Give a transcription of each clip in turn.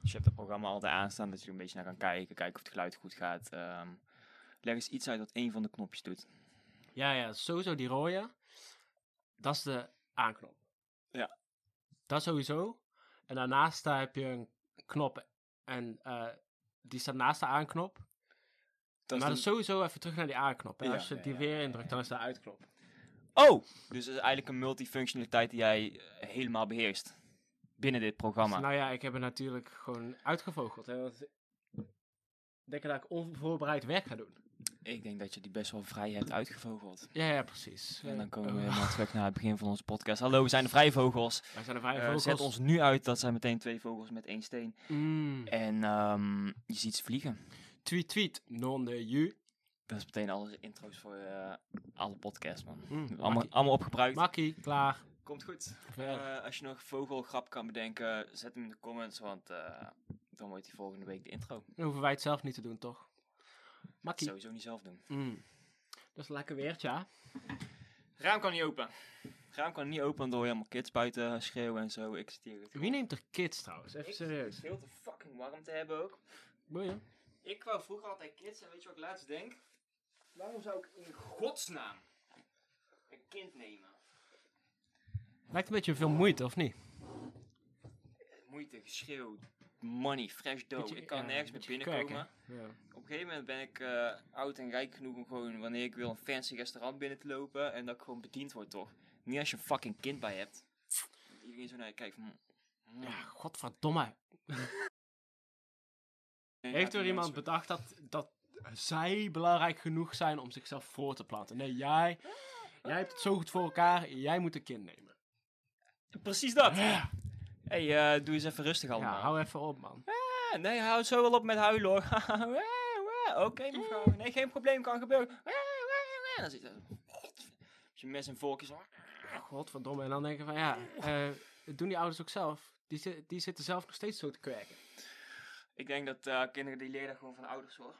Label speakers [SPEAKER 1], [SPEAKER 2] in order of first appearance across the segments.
[SPEAKER 1] Dus je hebt dat programma altijd aanstaan, dat je er een beetje naar kan kijken, kijken of het geluid goed gaat. Ehm, leg eens iets uit wat één van de knopjes doet.
[SPEAKER 2] Ja, ja, sowieso die rode. Dat is de aanknop.
[SPEAKER 1] Ja.
[SPEAKER 2] Dat sowieso. En daarnaast daar heb je een knop. En eh, die staat naast de aanknop.
[SPEAKER 1] Dat is
[SPEAKER 2] maar
[SPEAKER 1] de-
[SPEAKER 2] dan sowieso even terug naar die aanknop. En
[SPEAKER 1] Ja,
[SPEAKER 2] als je
[SPEAKER 1] ja,
[SPEAKER 2] die
[SPEAKER 1] ja,
[SPEAKER 2] weer indrukt, dan is de uitknop.
[SPEAKER 1] Oh! Dus dat is eigenlijk een multifunctionaliteit die jij eh, helemaal beheerst. Binnen dit
[SPEAKER 2] Dus
[SPEAKER 1] programma.
[SPEAKER 2] nou ja, ik heb het natuurlijk gewoon uitgevogeld. Hè, want ik denk dat ik onvoorbereid werk ga doen.
[SPEAKER 1] Ik denk dat je die best wel vrij hebt uitgevogeld.
[SPEAKER 2] Ja, ja, precies.
[SPEAKER 1] En dan komen we
[SPEAKER 2] Oh,
[SPEAKER 1] helemaal terug naar het begin van onze podcast. Hallo, we zijn de Vrije Vogels.
[SPEAKER 2] Wij zijn er vijf
[SPEAKER 1] Eh,
[SPEAKER 2] vogels.
[SPEAKER 1] Zet ons nu uit, dat zijn meteen twee vogels met één steen.
[SPEAKER 2] Mm.
[SPEAKER 1] En ehm, je ziet ze vliegen.
[SPEAKER 2] Tweet, tweet. Non de ju.
[SPEAKER 1] Dat is meteen alle intro's voor eh, alle podcasts, man.
[SPEAKER 2] Mm.
[SPEAKER 1] Allemaal,
[SPEAKER 2] Makkie.
[SPEAKER 1] allemaal opgebruikt.
[SPEAKER 2] Makkie, klaar.
[SPEAKER 1] Komt goed.
[SPEAKER 2] Verder.
[SPEAKER 1] Eh, als je nog een vogelgrap kan bedenken, zet hem in de comments, want eh, dan wordt die volgende week de intro.
[SPEAKER 2] Dan hoeven wij het zelf niet te doen, toch?
[SPEAKER 1] Dat
[SPEAKER 2] Makkie.
[SPEAKER 1] sowieso niet zelf doen.
[SPEAKER 2] Mm. Dat is lekker weer, ja.
[SPEAKER 1] Raam kan niet open. Raam kan niet open, want dan hoor je allemaal kids buiten schreeuwen en zo. Ik zit hier het
[SPEAKER 2] Wie neemt er kids trouwens? Even
[SPEAKER 1] Ik-
[SPEAKER 2] serieus.
[SPEAKER 1] veel te fucking warm te hebben ook.
[SPEAKER 2] Boeien.
[SPEAKER 1] Ik wou vroeger altijd kids en weet je wat ik laatst denk? Waarom zou ik in godsnaam een kind nemen?
[SPEAKER 2] Lijkt een beetje veel moeite, of niet?
[SPEAKER 1] Moeite, geschreeuw, money, fresh dough.
[SPEAKER 2] Beetje-
[SPEAKER 1] Ik kan
[SPEAKER 2] ja,
[SPEAKER 1] nergens meer
[SPEAKER 2] beetje
[SPEAKER 1] binnenkomen.
[SPEAKER 2] kerken. Ja.
[SPEAKER 1] Op een gegeven moment ben ik eh, oud en rijk genoeg om gewoon wanneer ik wil een fancy restaurant binnen te lopen en dat ik gewoon bediend word toch. Niet als je een fucking kind bij hebt. Dat Iedereen zo naar je kijkt van... mm,
[SPEAKER 2] ja, godverdomme.
[SPEAKER 1] mm.
[SPEAKER 2] Heeft er
[SPEAKER 1] Ja,
[SPEAKER 2] iemand
[SPEAKER 1] mensen-
[SPEAKER 2] bedacht dat, dat zij belangrijk genoeg zijn om zichzelf voor te planten? Nee, jij, jij hebt het zo goed voor elkaar, jij moet een kind nemen.
[SPEAKER 1] Precies dat! hey, eh, doe eens even rustig allemaal.
[SPEAKER 2] Ja, hou even op, man.
[SPEAKER 1] Ah, Nee, hou zo wel op met huilen hoor. Ah, ah, Oké mevrouw, nee geen probleem, kan gebeuren. Ah, ah, ah. En dan zit er- Als je mes en vorkje zo.
[SPEAKER 2] Godverdomme. En dan denk je van, ja, eh, het doen die ouders ook zelf. Die, zi- die zitten zelf nog steeds zo te kwerken.
[SPEAKER 1] Ik denk dat eh, kinderen die leren dat gewoon van ouders hoor.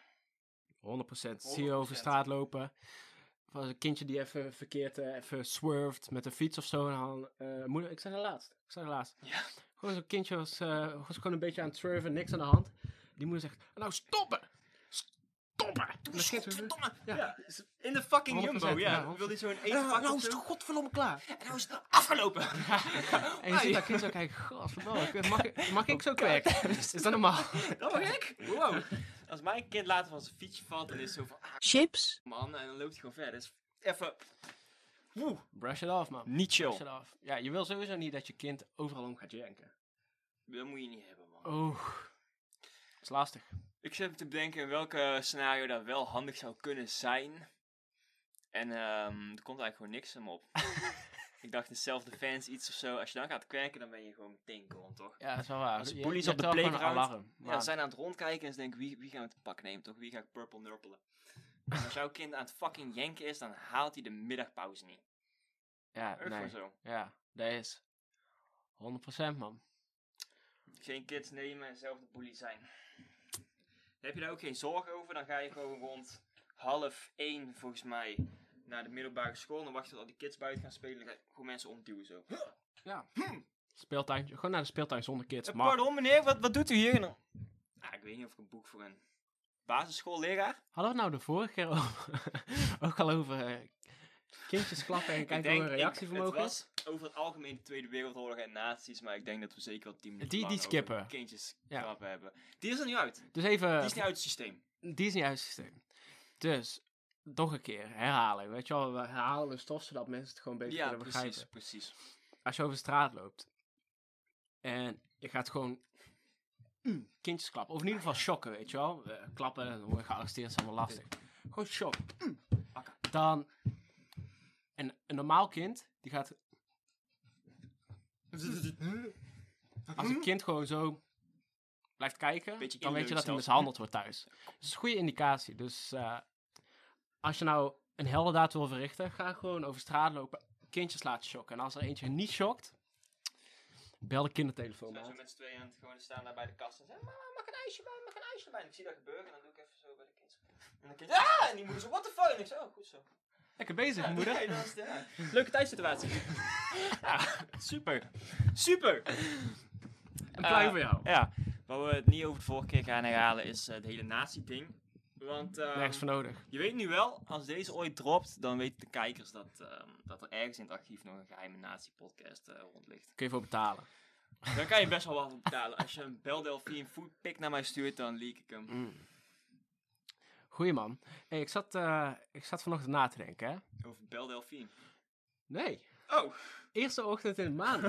[SPEAKER 2] 100%. Zie je over
[SPEAKER 1] 100%.
[SPEAKER 2] straat lopen. Van een kindje die even verkeerd, eh, even swerved met een fiets of zo. En dan, eh, moeder, ik zei de laatst. Ik zei de laatst.
[SPEAKER 1] Ja.
[SPEAKER 2] Gewoon zo'n kindje was, eh, was gewoon een beetje aan het swerven, niks aan de hand. Die moeder zegt, nou stoppen! Stoppen! Doe
[SPEAKER 1] Godverdomme.
[SPEAKER 2] Ja.
[SPEAKER 1] Ja, in de fucking
[SPEAKER 2] 100%,
[SPEAKER 1] jumbo,
[SPEAKER 2] ja,
[SPEAKER 1] ja. Dan
[SPEAKER 2] 100%.
[SPEAKER 1] wil hij zo'n eten
[SPEAKER 2] Ja,
[SPEAKER 1] pakken.
[SPEAKER 2] nou
[SPEAKER 1] of
[SPEAKER 2] is het
[SPEAKER 1] zo.
[SPEAKER 2] godverdomme klaar.
[SPEAKER 1] En nou is het afgelopen.
[SPEAKER 2] En je ziet
[SPEAKER 1] Ai.
[SPEAKER 2] dat kind zo kijken, godverdomme, ik- mag, ik- mag ik zo kwijt? Is dat normaal?
[SPEAKER 1] Dat was gek. Wow. Als mijn kind later van zijn fietsje valt en is zo van, ah
[SPEAKER 3] chips,
[SPEAKER 1] man, en dan loopt hij gewoon verder. Dus even, woe,
[SPEAKER 2] Brush it off, man.
[SPEAKER 1] niet
[SPEAKER 2] Brush
[SPEAKER 1] chill.
[SPEAKER 2] it off. Ja, je wil sowieso niet dat je kind overal om gaat janken.
[SPEAKER 1] Dat moet je niet hebben, man.
[SPEAKER 2] Oh, dat is lastig.
[SPEAKER 1] Ik zit te bedenken in welke scenario dat wel handig zou kunnen zijn. En ehm, er komt eigenlijk gewoon niks hem op. ik dacht in self-defense iets of zo. Als je dan gaat kwerken, dan ben je gewoon meteen gewoon, toch?
[SPEAKER 2] Ja, dat is wel waar.
[SPEAKER 1] Als de
[SPEAKER 2] Je-
[SPEAKER 1] bullies
[SPEAKER 2] je
[SPEAKER 1] op de
[SPEAKER 2] hebt wel gewoon een
[SPEAKER 1] playground-
[SPEAKER 2] alarm,
[SPEAKER 1] Ja,
[SPEAKER 2] maar-
[SPEAKER 1] ze zijn aan het rondkijken en ze denken, wie, wie gaan we te pak nemen, toch? Wie ga ik purple nurpelen? En als jouw kind aan het fucking jenken is, dan haalt hij de middagpauze niet.
[SPEAKER 2] Ja,
[SPEAKER 1] Echt gewoon
[SPEAKER 2] nee.
[SPEAKER 1] zo.
[SPEAKER 2] Ja, dat is 100% man.
[SPEAKER 1] Geen kids nemen en zelf de bully zijn. Heb je daar ook geen zorgen over? Dan ga je gewoon rond half één, volgens mij, naar de middelbare school. Dan wacht je tot al die kids buiten gaan spelen. Dan ga je gewoon mensen omduwen zo.
[SPEAKER 2] Speeltuintje, gewoon naar de speeltuin zonder kids.
[SPEAKER 1] Eh,
[SPEAKER 2] Mag.
[SPEAKER 1] pardon meneer, wat, wat doet u hier? En dan- Ah, ik weet niet of ik een boek voor een basisschoolleraar.
[SPEAKER 2] Hadden we het nou de vorige keer over, ook al over eh, kindjes klappen en kijken hoe hun
[SPEAKER 1] ik,
[SPEAKER 2] reactievermogen
[SPEAKER 1] het
[SPEAKER 2] is?
[SPEAKER 1] was over het algemeen de Tweede Wereldoorlog en nazi's. Maar ik denk dat we zeker wel tien minuten
[SPEAKER 2] Die- die
[SPEAKER 1] lang over
[SPEAKER 2] skippen.
[SPEAKER 1] kindjes
[SPEAKER 2] Ja.
[SPEAKER 1] grappen hebben. Die is er niet uit.
[SPEAKER 2] Dus even,
[SPEAKER 1] Die is niet uit het systeem.
[SPEAKER 2] die is niet uit het systeem. Dus, nog een keer, herhalen. Weet je wel, we herhalen de stof zodat mensen het gewoon beter
[SPEAKER 1] Ja,
[SPEAKER 2] kunnen begrijpen.
[SPEAKER 1] precies, precies.
[SPEAKER 2] Als je over de straat loopt en je gaat gewoon mm, kindjes klappen, of in ieder geval shocken, weet je wel. Eh, klappen en worden gearresteerd is allemaal lastig. Gewoon shock. Mm. Dan, en een normaal kind, die gaat Als een kind gewoon zo blijft kijken,
[SPEAKER 1] Beetje
[SPEAKER 2] dan weet je dat hij
[SPEAKER 1] inleunen zelf.
[SPEAKER 2] mishandeld wordt thuis. Dat is een goede indicatie. Dus eh, als je nou een heldendaad wil verrichten, ga gewoon over straat lopen, kindjes laten shocken. En als er eentje niet shockt, bel de kindertelefoon
[SPEAKER 1] Zijn
[SPEAKER 2] maar.
[SPEAKER 1] zo met z'n tweeën aan het gewoon staan daar bij de kast en zeggen, mama, mag ik een ijsje bij, mag ik een ijsje bij. En ik zie dat gebeuren en dan doe ik even zo bij de kind. En dan kind, ah! En die moeder zo, what the fuck? En ik zo, oh, goed zo.
[SPEAKER 2] bezig, moeder.
[SPEAKER 1] dat is de-
[SPEAKER 3] Leuke thuissituatie.
[SPEAKER 1] Super. Super.
[SPEAKER 2] Een pluim
[SPEAKER 1] Eh,
[SPEAKER 2] voor jou.
[SPEAKER 1] Ja, waar we het niet over de vorige keer gaan herhalen is eh, het hele nazi-ding. Want ehm,
[SPEAKER 2] Nergens voor nodig.
[SPEAKER 1] je weet nu wel, als deze ooit dropt, dan weten de kijkers dat, ehm, dat er ergens in het archief nog een geheime nazi-podcast eh, rond ligt.
[SPEAKER 2] Kun je voor betalen.
[SPEAKER 1] Daar kan je best wel wat voor betalen. Als je een Bel Delphine foodpick naar mij stuurt, dan leak ik hem.
[SPEAKER 2] Goeie man. Hey, ik, zat, eh, ik zat vanochtend na te denken, hè?
[SPEAKER 1] Over Bel Delphine.
[SPEAKER 2] Nee.
[SPEAKER 1] Oh!
[SPEAKER 2] Eerste ochtend in de maand.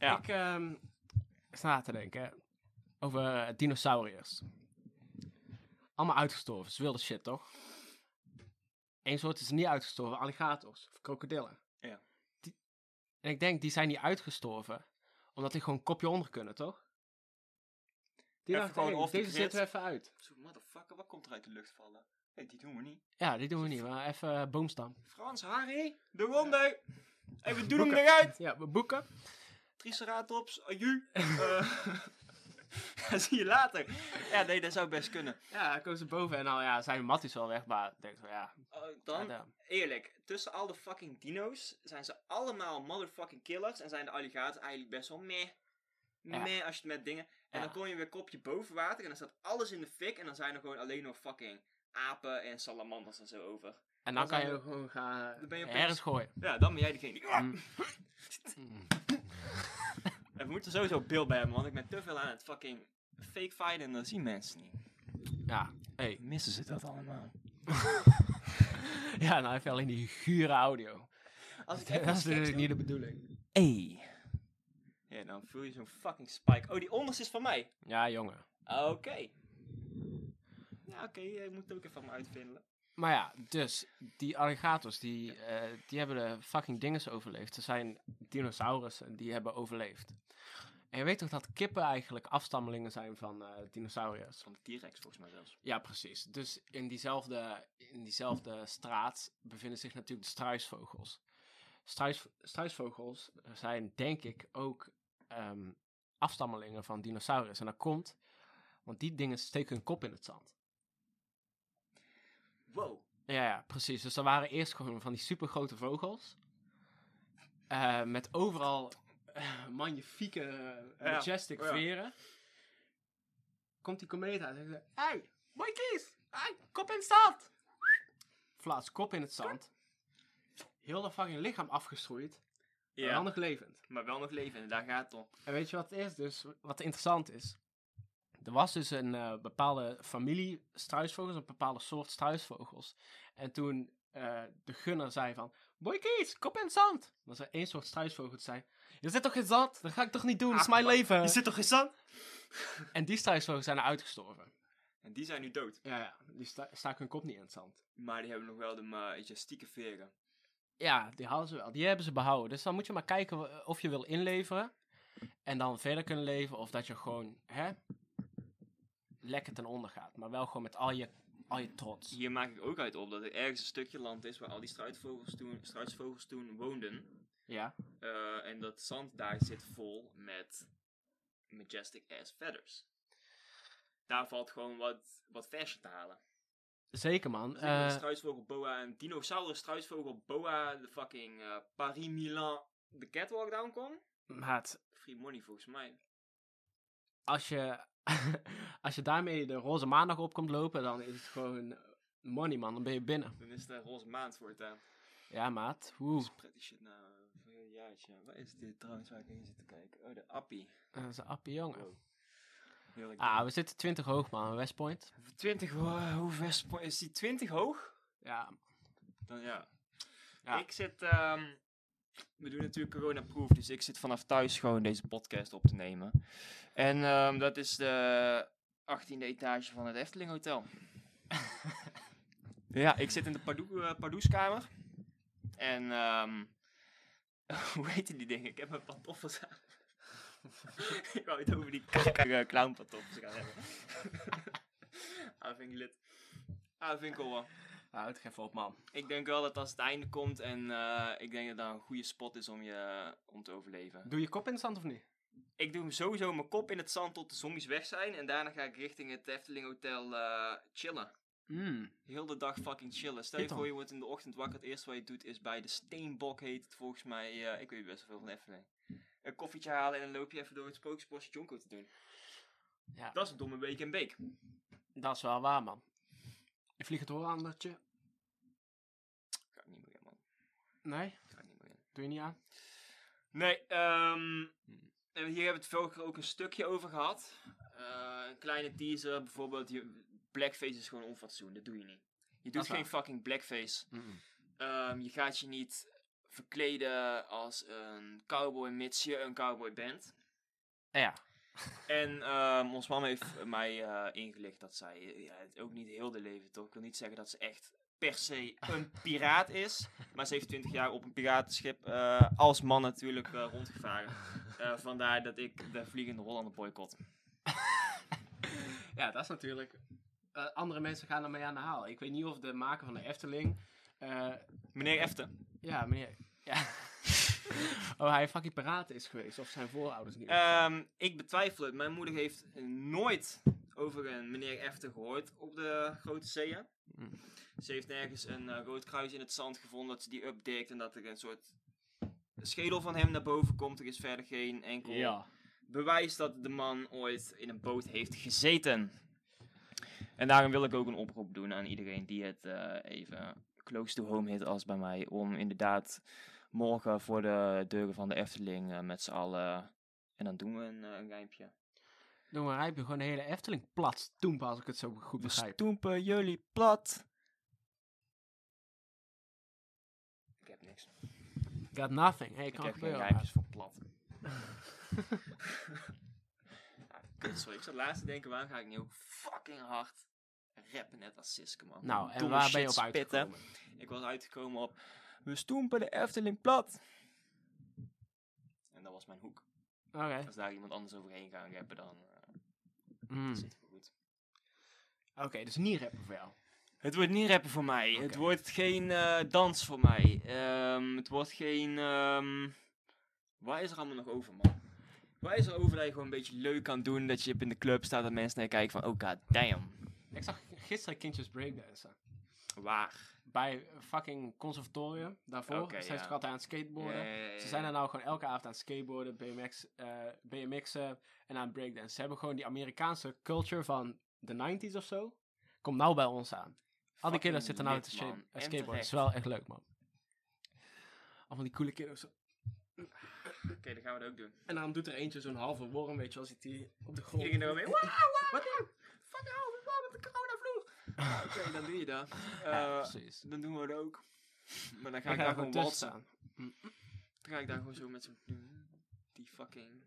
[SPEAKER 1] Ja.
[SPEAKER 2] Ik ehm sta na te denken over dinosauriërs. Allemaal uitgestorven. Ze wilde shit, toch? Eén soort is niet uitgestorven. Alligators of krokodillen.
[SPEAKER 1] Ja.
[SPEAKER 2] Die- en ik denk, die zijn niet uitgestorven. Omdat die gewoon kopje onder kunnen, toch? Die
[SPEAKER 1] Even
[SPEAKER 2] dachten,
[SPEAKER 1] gewoon
[SPEAKER 2] hey,
[SPEAKER 1] off the
[SPEAKER 2] deze
[SPEAKER 1] grid.
[SPEAKER 2] zitten we even uit.
[SPEAKER 1] Zo, motherfucker, wat komt er uit de lucht vallen? Nee, die doen we niet.
[SPEAKER 2] Ja, die doen we niet. Maar even eh, boomstam.
[SPEAKER 1] Frans, Harry, de Ronde. Hey, we doen hem
[SPEAKER 2] Boeken.
[SPEAKER 1] eruit.
[SPEAKER 2] Ja, we boeken.
[SPEAKER 1] Triceratops, aju. Eh, dat zie je later. Ja, nee, dat zou best kunnen.
[SPEAKER 2] Ja, dan komen ze boven en nou ja, zijn matties wel weg. Maar ik denk van ja,
[SPEAKER 1] Eh, dan,
[SPEAKER 2] ja,
[SPEAKER 1] eerlijk, tussen al de fucking dino's zijn ze allemaal motherfucking killers. En zijn de alligators eigenlijk best wel meh.
[SPEAKER 2] Ja.
[SPEAKER 1] Meh als je het met dingen. En
[SPEAKER 2] Ja.
[SPEAKER 1] dan kom je weer kopje boven water en dan staat alles in de fik. En dan zijn er gewoon alleen nog fucking apen en salamanders en zo over. Dan
[SPEAKER 2] En dan kan
[SPEAKER 1] zijn
[SPEAKER 2] je
[SPEAKER 1] we-
[SPEAKER 2] ook gewoon gaan
[SPEAKER 1] Dan ben je opeens-
[SPEAKER 2] ergens gooien.
[SPEAKER 1] Ja, dan ben jij degene die...
[SPEAKER 2] Mm.
[SPEAKER 1] En we moeten sowieso beeld bij hebben, want ik ben te veel aan het fucking fake fighten en dat zien mensen niet.
[SPEAKER 2] Ja, hey.
[SPEAKER 1] Missen ze dat allemaal?
[SPEAKER 2] ja, nou even alleen die gure audio.
[SPEAKER 1] Als ik
[SPEAKER 2] Dat
[SPEAKER 1] even
[SPEAKER 2] is
[SPEAKER 1] iets geks
[SPEAKER 2] natuurlijk niet
[SPEAKER 1] doe-
[SPEAKER 2] de bedoeling.
[SPEAKER 1] Ey. Ja, dan voel je zo'n fucking spike. Oh, die onderste is van mij.
[SPEAKER 2] Ja, jongen.
[SPEAKER 1] Oké. Ja, oké, eh, ik moet het ook even van me uitvinden.
[SPEAKER 2] Maar ja, dus die alligators, die, eh, die hebben de fucking dinges overleefd. Ze zijn dinosaurussen, die hebben overleefd. En je weet toch dat kippen eigenlijk afstammelingen zijn van eh dinosauriërs?
[SPEAKER 1] Van de T-Rex volgens mij zelfs.
[SPEAKER 2] Ja, precies. Dus in diezelfde, in diezelfde straat bevinden zich natuurlijk de struisvogels. Struis, struisvogels zijn denk ik ook ehm, afstammelingen van dinosaurus. En dat komt, want die dingen steken hun kop in het zand.
[SPEAKER 1] Wow.
[SPEAKER 2] Ja, ja, precies. Dus er waren eerst gewoon van die supergrote vogels. eh, met overal eh, magnifieke, eh,
[SPEAKER 1] Ja,
[SPEAKER 2] majestic
[SPEAKER 1] oh ja.
[SPEAKER 2] veren. Komt die komeet uit en zegt... Hé, hey, mooi kies! Hey, kop in het zand! Plaats kop in het zand. Heel dat fucking lichaam afgestrooid.
[SPEAKER 1] Ja,
[SPEAKER 2] En dan nog levend.
[SPEAKER 1] maar wel nog leven en daar gaat het om.
[SPEAKER 2] En weet je wat het is dus? Wat interessant is. Er was dus een eh, bepaalde familie struisvogels, een bepaalde soort struisvogels. En toen eh, de gunner zei van, boy kies, kop in het zand. Dan zei één soort struisvogel die zei, je zit toch in het zand? Dat ga ik toch niet doen, dat is
[SPEAKER 1] Ach,
[SPEAKER 2] mijn leven.
[SPEAKER 1] Ah, zit toch geen zand?
[SPEAKER 2] En die struisvogels zijn uitgestorven.
[SPEAKER 1] En die zijn nu dood.
[SPEAKER 2] Ja, ja, die sta staken hun kop niet in het zand.
[SPEAKER 1] Maar die hebben nog wel de eh, majestieke veren.
[SPEAKER 2] Ja, die hadden ze wel. Die hebben ze behouden. Dus dan moet je maar kijken wa- of je wil inleveren. En dan verder kunnen leven. Of dat je gewoon, hè, lekker ten onder gaat. Maar wel gewoon met al je, al je trots.
[SPEAKER 1] Hier maak ik ook uit op dat er ergens een stukje land is waar al die struisvogels toen, struisvogels toen woonden.
[SPEAKER 2] Ja.
[SPEAKER 1] Eh, en dat zand daar zit vol met majestic ass feathers. Daar valt gewoon wat, wat versje te halen.
[SPEAKER 2] Zeker, man.
[SPEAKER 1] Dus ik ben een
[SPEAKER 2] Eh,
[SPEAKER 1] struisvogel boa, een dinosaurus struisvogel boa, de fucking eh, Paris Milan, de catwalk down kon.
[SPEAKER 2] maat,
[SPEAKER 1] Free money volgens mij.
[SPEAKER 2] als je, als je daarmee de roze maandag op komt lopen, dan is het gewoon money, man. Dan ben je binnen.
[SPEAKER 1] Dan is het een roze maand voor het aan.
[SPEAKER 2] Ja, maat. Oeh.
[SPEAKER 1] Pretty shit nou. eh, Een jaartje. Wat is dit trouwens waar ik in zit te kijken? Oh, de appie.
[SPEAKER 2] Dat is een appie jongen.
[SPEAKER 1] Wow. Heerlijk.
[SPEAKER 2] Ah, we zitten 20 hoog, man. West Point.
[SPEAKER 1] 20, ho- hoe ver spo- is die 20 hoog?
[SPEAKER 2] Ja.
[SPEAKER 1] Dan ja.
[SPEAKER 2] Ja.
[SPEAKER 1] Ik zit. ehm, we doen natuurlijk corona-proof, dus ik zit vanaf thuis gewoon deze podcast op te nemen. En ehm, dat is de 18e etage van het Efteling Hotel. ja, ik zit in de Pardoe- eh, Pardoeskamer. En ehm, hoe heten die dingen? Ik heb mijn pantoffels aan. ik wou het over die kakker eh, clownpantoffels gaan hebben. ah, vind ik lit. Ah, vind ik wel.
[SPEAKER 2] Houd het even op, man.
[SPEAKER 1] Ik denk wel dat als het einde komt en eh, ik denk dat dat een goede spot is om, je, eh, om te overleven.
[SPEAKER 2] Doe je kop in het zand of niet?
[SPEAKER 1] Ik doe sowieso mijn kop in het zand tot de zombies weg zijn en daarna ga ik richting het Efteling Hotel eh, chillen.
[SPEAKER 2] Mm.
[SPEAKER 1] Heel de dag fucking chillen. Stel je
[SPEAKER 2] Dit
[SPEAKER 1] voor, je wordt in de ochtend wakker. Het eerste wat je doet is bij de Steenbok heet het volgens mij. eh, ik weet best wel veel van Efteling. Een koffietje halen en dan loop je even door het spooksportje Jonko te doen.
[SPEAKER 2] Ja.
[SPEAKER 1] Dat is een domme week en week.
[SPEAKER 2] Dat is wel waar, man. Je vliegt het aan dat je...
[SPEAKER 1] Ga ik niet meer in, man.
[SPEAKER 2] Nee,
[SPEAKER 1] Ga ik niet meer in.
[SPEAKER 2] doe je niet aan.
[SPEAKER 1] Nee, ehm, en hier hebben we het vorige keer ook een stukje over gehad. Eh, een kleine teaser, bijvoorbeeld. Je, blackface is gewoon onfatsoen, dat doe je niet. Je doet
[SPEAKER 2] is waar.
[SPEAKER 1] geen fucking blackface. Ehm, je gaat je niet verkleden als een cowboy, mits je een cowboy bent.
[SPEAKER 2] Ja.
[SPEAKER 1] En ehm, ons mam heeft mij eh, ingelicht dat zij eh, ja, het ook niet heel de leven toch. Ik wil niet zeggen dat ze echt per se een piraat is. Maar ze heeft 20 jaar op een piratenschip eh, als man natuurlijk eh, rondgevaren. Eh, vandaar dat ik de Vliegende Hollander boycott.
[SPEAKER 2] ja, dat is natuurlijk... eh, andere mensen gaan ermee aan de haal. Ik weet niet of de maker van de Efteling... eh,
[SPEAKER 1] Meneer Eften.
[SPEAKER 2] ja, meneer... Ja. oh, hij fucking piraten is geweest. Of zijn voorouders niet.
[SPEAKER 1] Ehm, ik betwijfel het. Mijn moeder heeft nooit over een meneer Eften gehoord op de grote zeeën.
[SPEAKER 2] Mm.
[SPEAKER 1] Ze heeft nergens een eh, rood kruis in het zand gevonden dat ze die updekt en dat er een soort schedel van hem naar boven komt. Er is verder geen enkel
[SPEAKER 2] ja.
[SPEAKER 1] bewijs dat de man ooit in een boot heeft gezeten. En daarom wil ik ook een oproep doen aan iedereen die het eh, even close to home hit als bij mij. Om inderdaad morgen voor de deuren van de Efteling eh, met z'n allen. En dan doen we een, eh, een rijmpje.
[SPEAKER 2] Doe maar, rijp je gewoon de hele Efteling plat. Toen pas ik het zo goed
[SPEAKER 1] We
[SPEAKER 2] begrijp.
[SPEAKER 1] stoempen jullie plat. Ik heb niks.
[SPEAKER 2] Got nothing. Hey,
[SPEAKER 1] Ik
[SPEAKER 2] kan
[SPEAKER 1] heb geen
[SPEAKER 2] gebeuren.
[SPEAKER 1] rijmpjes voor plat. Ja, kut, Sorry, ik zat laatst te denken, waarom ga ik niet ook fucking hard rappen net als Siske, man.
[SPEAKER 2] Nou, en
[SPEAKER 1] Domme
[SPEAKER 2] waar ben je op
[SPEAKER 1] shit spitten.
[SPEAKER 2] uitgekomen?
[SPEAKER 1] Ik was uitgekomen op, we stoempen de Efteling plat. En dat was mijn hoek.
[SPEAKER 2] Oké.
[SPEAKER 1] Als daar iemand anders overheen gaan rappen, dan eh,
[SPEAKER 2] Mm.
[SPEAKER 1] zit het wel goed.
[SPEAKER 2] Oké, dus niet rappen voor jou.
[SPEAKER 1] Het wordt niet rappen voor mij. Het
[SPEAKER 2] Oké.
[SPEAKER 1] wordt geen eh, dans voor mij. Ehm, het wordt geen. ehm, Waar is er allemaal nog over, man? Waar is er over dat je gewoon een beetje leuk kan doen? Dat je in de club staat en mensen naar je kijken van, oh god damn.
[SPEAKER 2] Ik zag gisteren kindjes breakdansen.
[SPEAKER 1] Waar?
[SPEAKER 2] Bij fucking conservatorium. Daarvoor
[SPEAKER 1] Oké,
[SPEAKER 2] zijn
[SPEAKER 1] ja.
[SPEAKER 2] ze toch altijd aan het skateboarden.
[SPEAKER 1] Ja, ja, ja, ja.
[SPEAKER 2] Ze zijn er nou gewoon elke avond aan het skateboarden, BMX, eh, BMX'en en aan het breakdansen. Ze hebben gewoon die Amerikaanse culture van de 90s of zo. Komt nou bij ons aan. Al die
[SPEAKER 1] Fucking
[SPEAKER 2] kinderen zitten nou
[SPEAKER 1] lit,
[SPEAKER 2] te sha-
[SPEAKER 1] man. En
[SPEAKER 2] skateboarden. Dat is
[SPEAKER 1] terecht.
[SPEAKER 2] wel echt leuk, man. Allemaal die coole kinderen. zo.
[SPEAKER 1] Oké, dan gaan we dat ook doen.
[SPEAKER 2] En dan doet er eentje zo'n halve worm, weet je wel, zit die op de grond.
[SPEAKER 1] Iedereen eromheen. Wauw,
[SPEAKER 2] Wat?
[SPEAKER 1] wauw. Fuck out, we waren met de coronavloer. Oké, dan doe je dat.
[SPEAKER 2] Ja,
[SPEAKER 1] Eh,
[SPEAKER 2] precies.
[SPEAKER 1] dan doen we dat ook. Maar dan ga
[SPEAKER 2] Ik
[SPEAKER 1] ik daar
[SPEAKER 2] ga er
[SPEAKER 1] gewoon
[SPEAKER 2] gewoon tussen
[SPEAKER 1] walsen.
[SPEAKER 2] staan.
[SPEAKER 1] Dan ga ik daar gewoon zo met zo'n... Die fucking...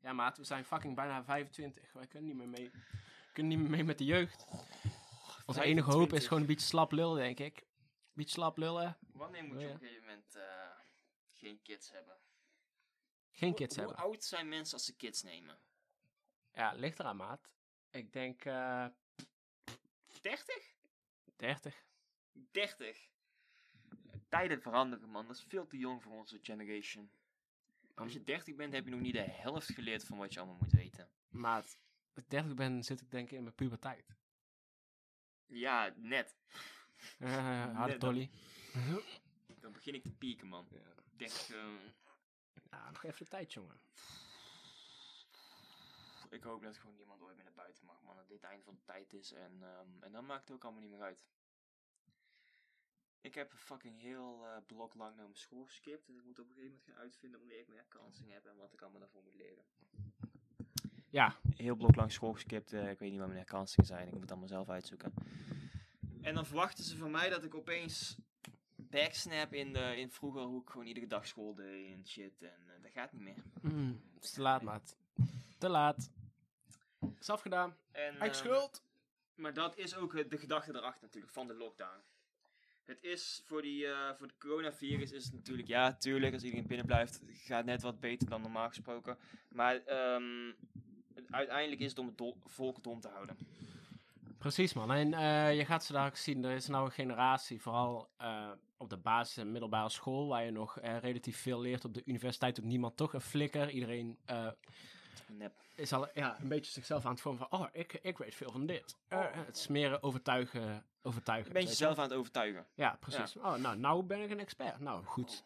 [SPEAKER 2] Ja, maat, we zijn fucking bijna 25. Wij kunnen niet meer mee, kunnen niet meer mee met de jeugd. Onze enige hoop
[SPEAKER 1] 25.
[SPEAKER 2] is gewoon een beetje slap lullen, denk ik. Een beetje slap lullen.
[SPEAKER 1] Wanneer moet
[SPEAKER 2] Oh
[SPEAKER 1] je op
[SPEAKER 2] ja.
[SPEAKER 1] een gegeven moment eh, geen kids hebben?
[SPEAKER 2] Geen
[SPEAKER 1] Hoe-
[SPEAKER 2] kids
[SPEAKER 1] hoe,
[SPEAKER 2] hebben.
[SPEAKER 1] oud zijn mensen als ze kids nemen?
[SPEAKER 2] Ja, ligt eraan, maat. Ik denk eh
[SPEAKER 1] 30?
[SPEAKER 2] 30.
[SPEAKER 1] 30. Tijden veranderen, man. Dat is veel te jong voor onze generation. Als je 30 bent, heb je nog niet de helft geleerd van wat je allemaal moet weten.
[SPEAKER 2] Maat, als ik 30 ben, zit ik denk ik in mijn puberteit.
[SPEAKER 1] Ja, net.
[SPEAKER 2] Eh harde
[SPEAKER 1] Net dan.
[SPEAKER 2] dolly.
[SPEAKER 1] Dan begin ik te pieken, man.
[SPEAKER 2] Ja.
[SPEAKER 1] 30, eh,
[SPEAKER 2] Ja, nog even de tijd, jongen.
[SPEAKER 1] pff, ik hoop dat gewoon niemand ooit meer naar buiten mag, man. Dat dit het einde van de tijd is. En, ehm, en dan maakt het ook allemaal niet meer uit. Ik heb een fucking heel eh, blok lang naar mijn school geskipt. En ik moet op een gegeven moment gaan uitvinden wanneer ik meer kansen heb en wat ik allemaal daarvoor moet leren.
[SPEAKER 2] Ja,
[SPEAKER 1] heel blok lang school geskipt. eh, ik weet niet waar mijn herkansingen zijn. Ik moet het allemaal zelf uitzoeken. En dan verwachten ze van mij dat ik opeens backsnap in, de, in vroeger hoe ik gewoon iedere dag school deed en shit. En eh, dat gaat niet meer.
[SPEAKER 2] Mm, het is te laat, maat. Te laat. Is afgedaan.
[SPEAKER 1] En,
[SPEAKER 2] Uit
[SPEAKER 1] ehm,
[SPEAKER 2] schuld.
[SPEAKER 1] Maar dat is ook eh, de gedachte erachter natuurlijk, van de lockdown. Het is voor, die, eh, voor het coronavirus is het natuurlijk, ja, tuurlijk, als iedereen binnen blijft, gaat net wat beter dan normaal gesproken. Maar ehm, het- uiteindelijk is het om het do- volk dom te houden.
[SPEAKER 2] Precies, man. En eh, je gaat ze daar ook zien. Er is nou een generatie, vooral eh, op de basis- en middelbare school, waar je nog eh, relatief veel leert. Op de universiteit doet niemand toch een flikker. Iedereen eh,
[SPEAKER 1] Nep.
[SPEAKER 2] is al ja, een beetje zichzelf aan het vormen van, oh, ik, ik weet veel van dit. Eh, het smeren, overtuigen, overtuigen.
[SPEAKER 1] Oh. Een beetje
[SPEAKER 2] weet
[SPEAKER 1] zelf aan het overtuigen.
[SPEAKER 2] je. Ja, precies. Oh, nou, nou ben ik een expert. Nou, goed.